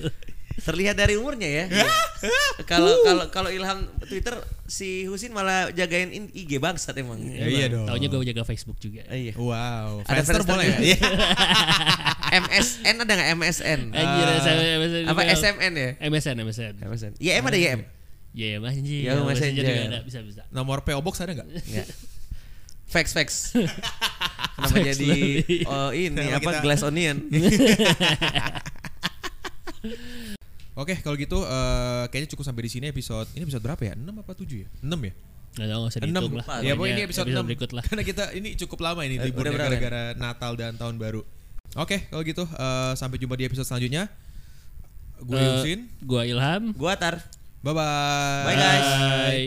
terlihat dari umurnya ya Iya. kalau kalau kalau Ilham Twitter si Husin malah jagain in- IG bangsat emang Ya, iya Oh. Emang, dong. Taunya gue jaga Facebook juga. iya Wow, Ada Friendster Friendster boleh ya? juga. Iya. MSN ada nggak MSN Anjir, Ah. SMS, MSN. apa SMN ya MSN, MSN. MSN YM ada YM Iya, Mas Anjir. Ya, Yahoo Messenger. juga ada, bisa bisa. Nomor PO Box ada nggak? Enggak. Facts facts. Kenapa Facts jadi lagi. oh ini Kenapa apa kita- glass onion? Oke, kalau gitu eh, kayaknya cukup sampai di sini episode. Ini episode berapa ya? 6 apa 7 ya? 6 ya? Nggak tahu, nggak usah dihitung Ya, lah. Pokoknya pokoknya ini episode, 6. berikut lah. Karena kita ini cukup lama ini Eh, liburnya udah berapa ya? gara-gara Natal dan tahun baru. Oke, kalau gitu eh, sampai jumpa di episode selanjutnya. Gue Eh, Yusin. Gua Ilham. Gua tar. Bye-bye. Bye, guys. Bye.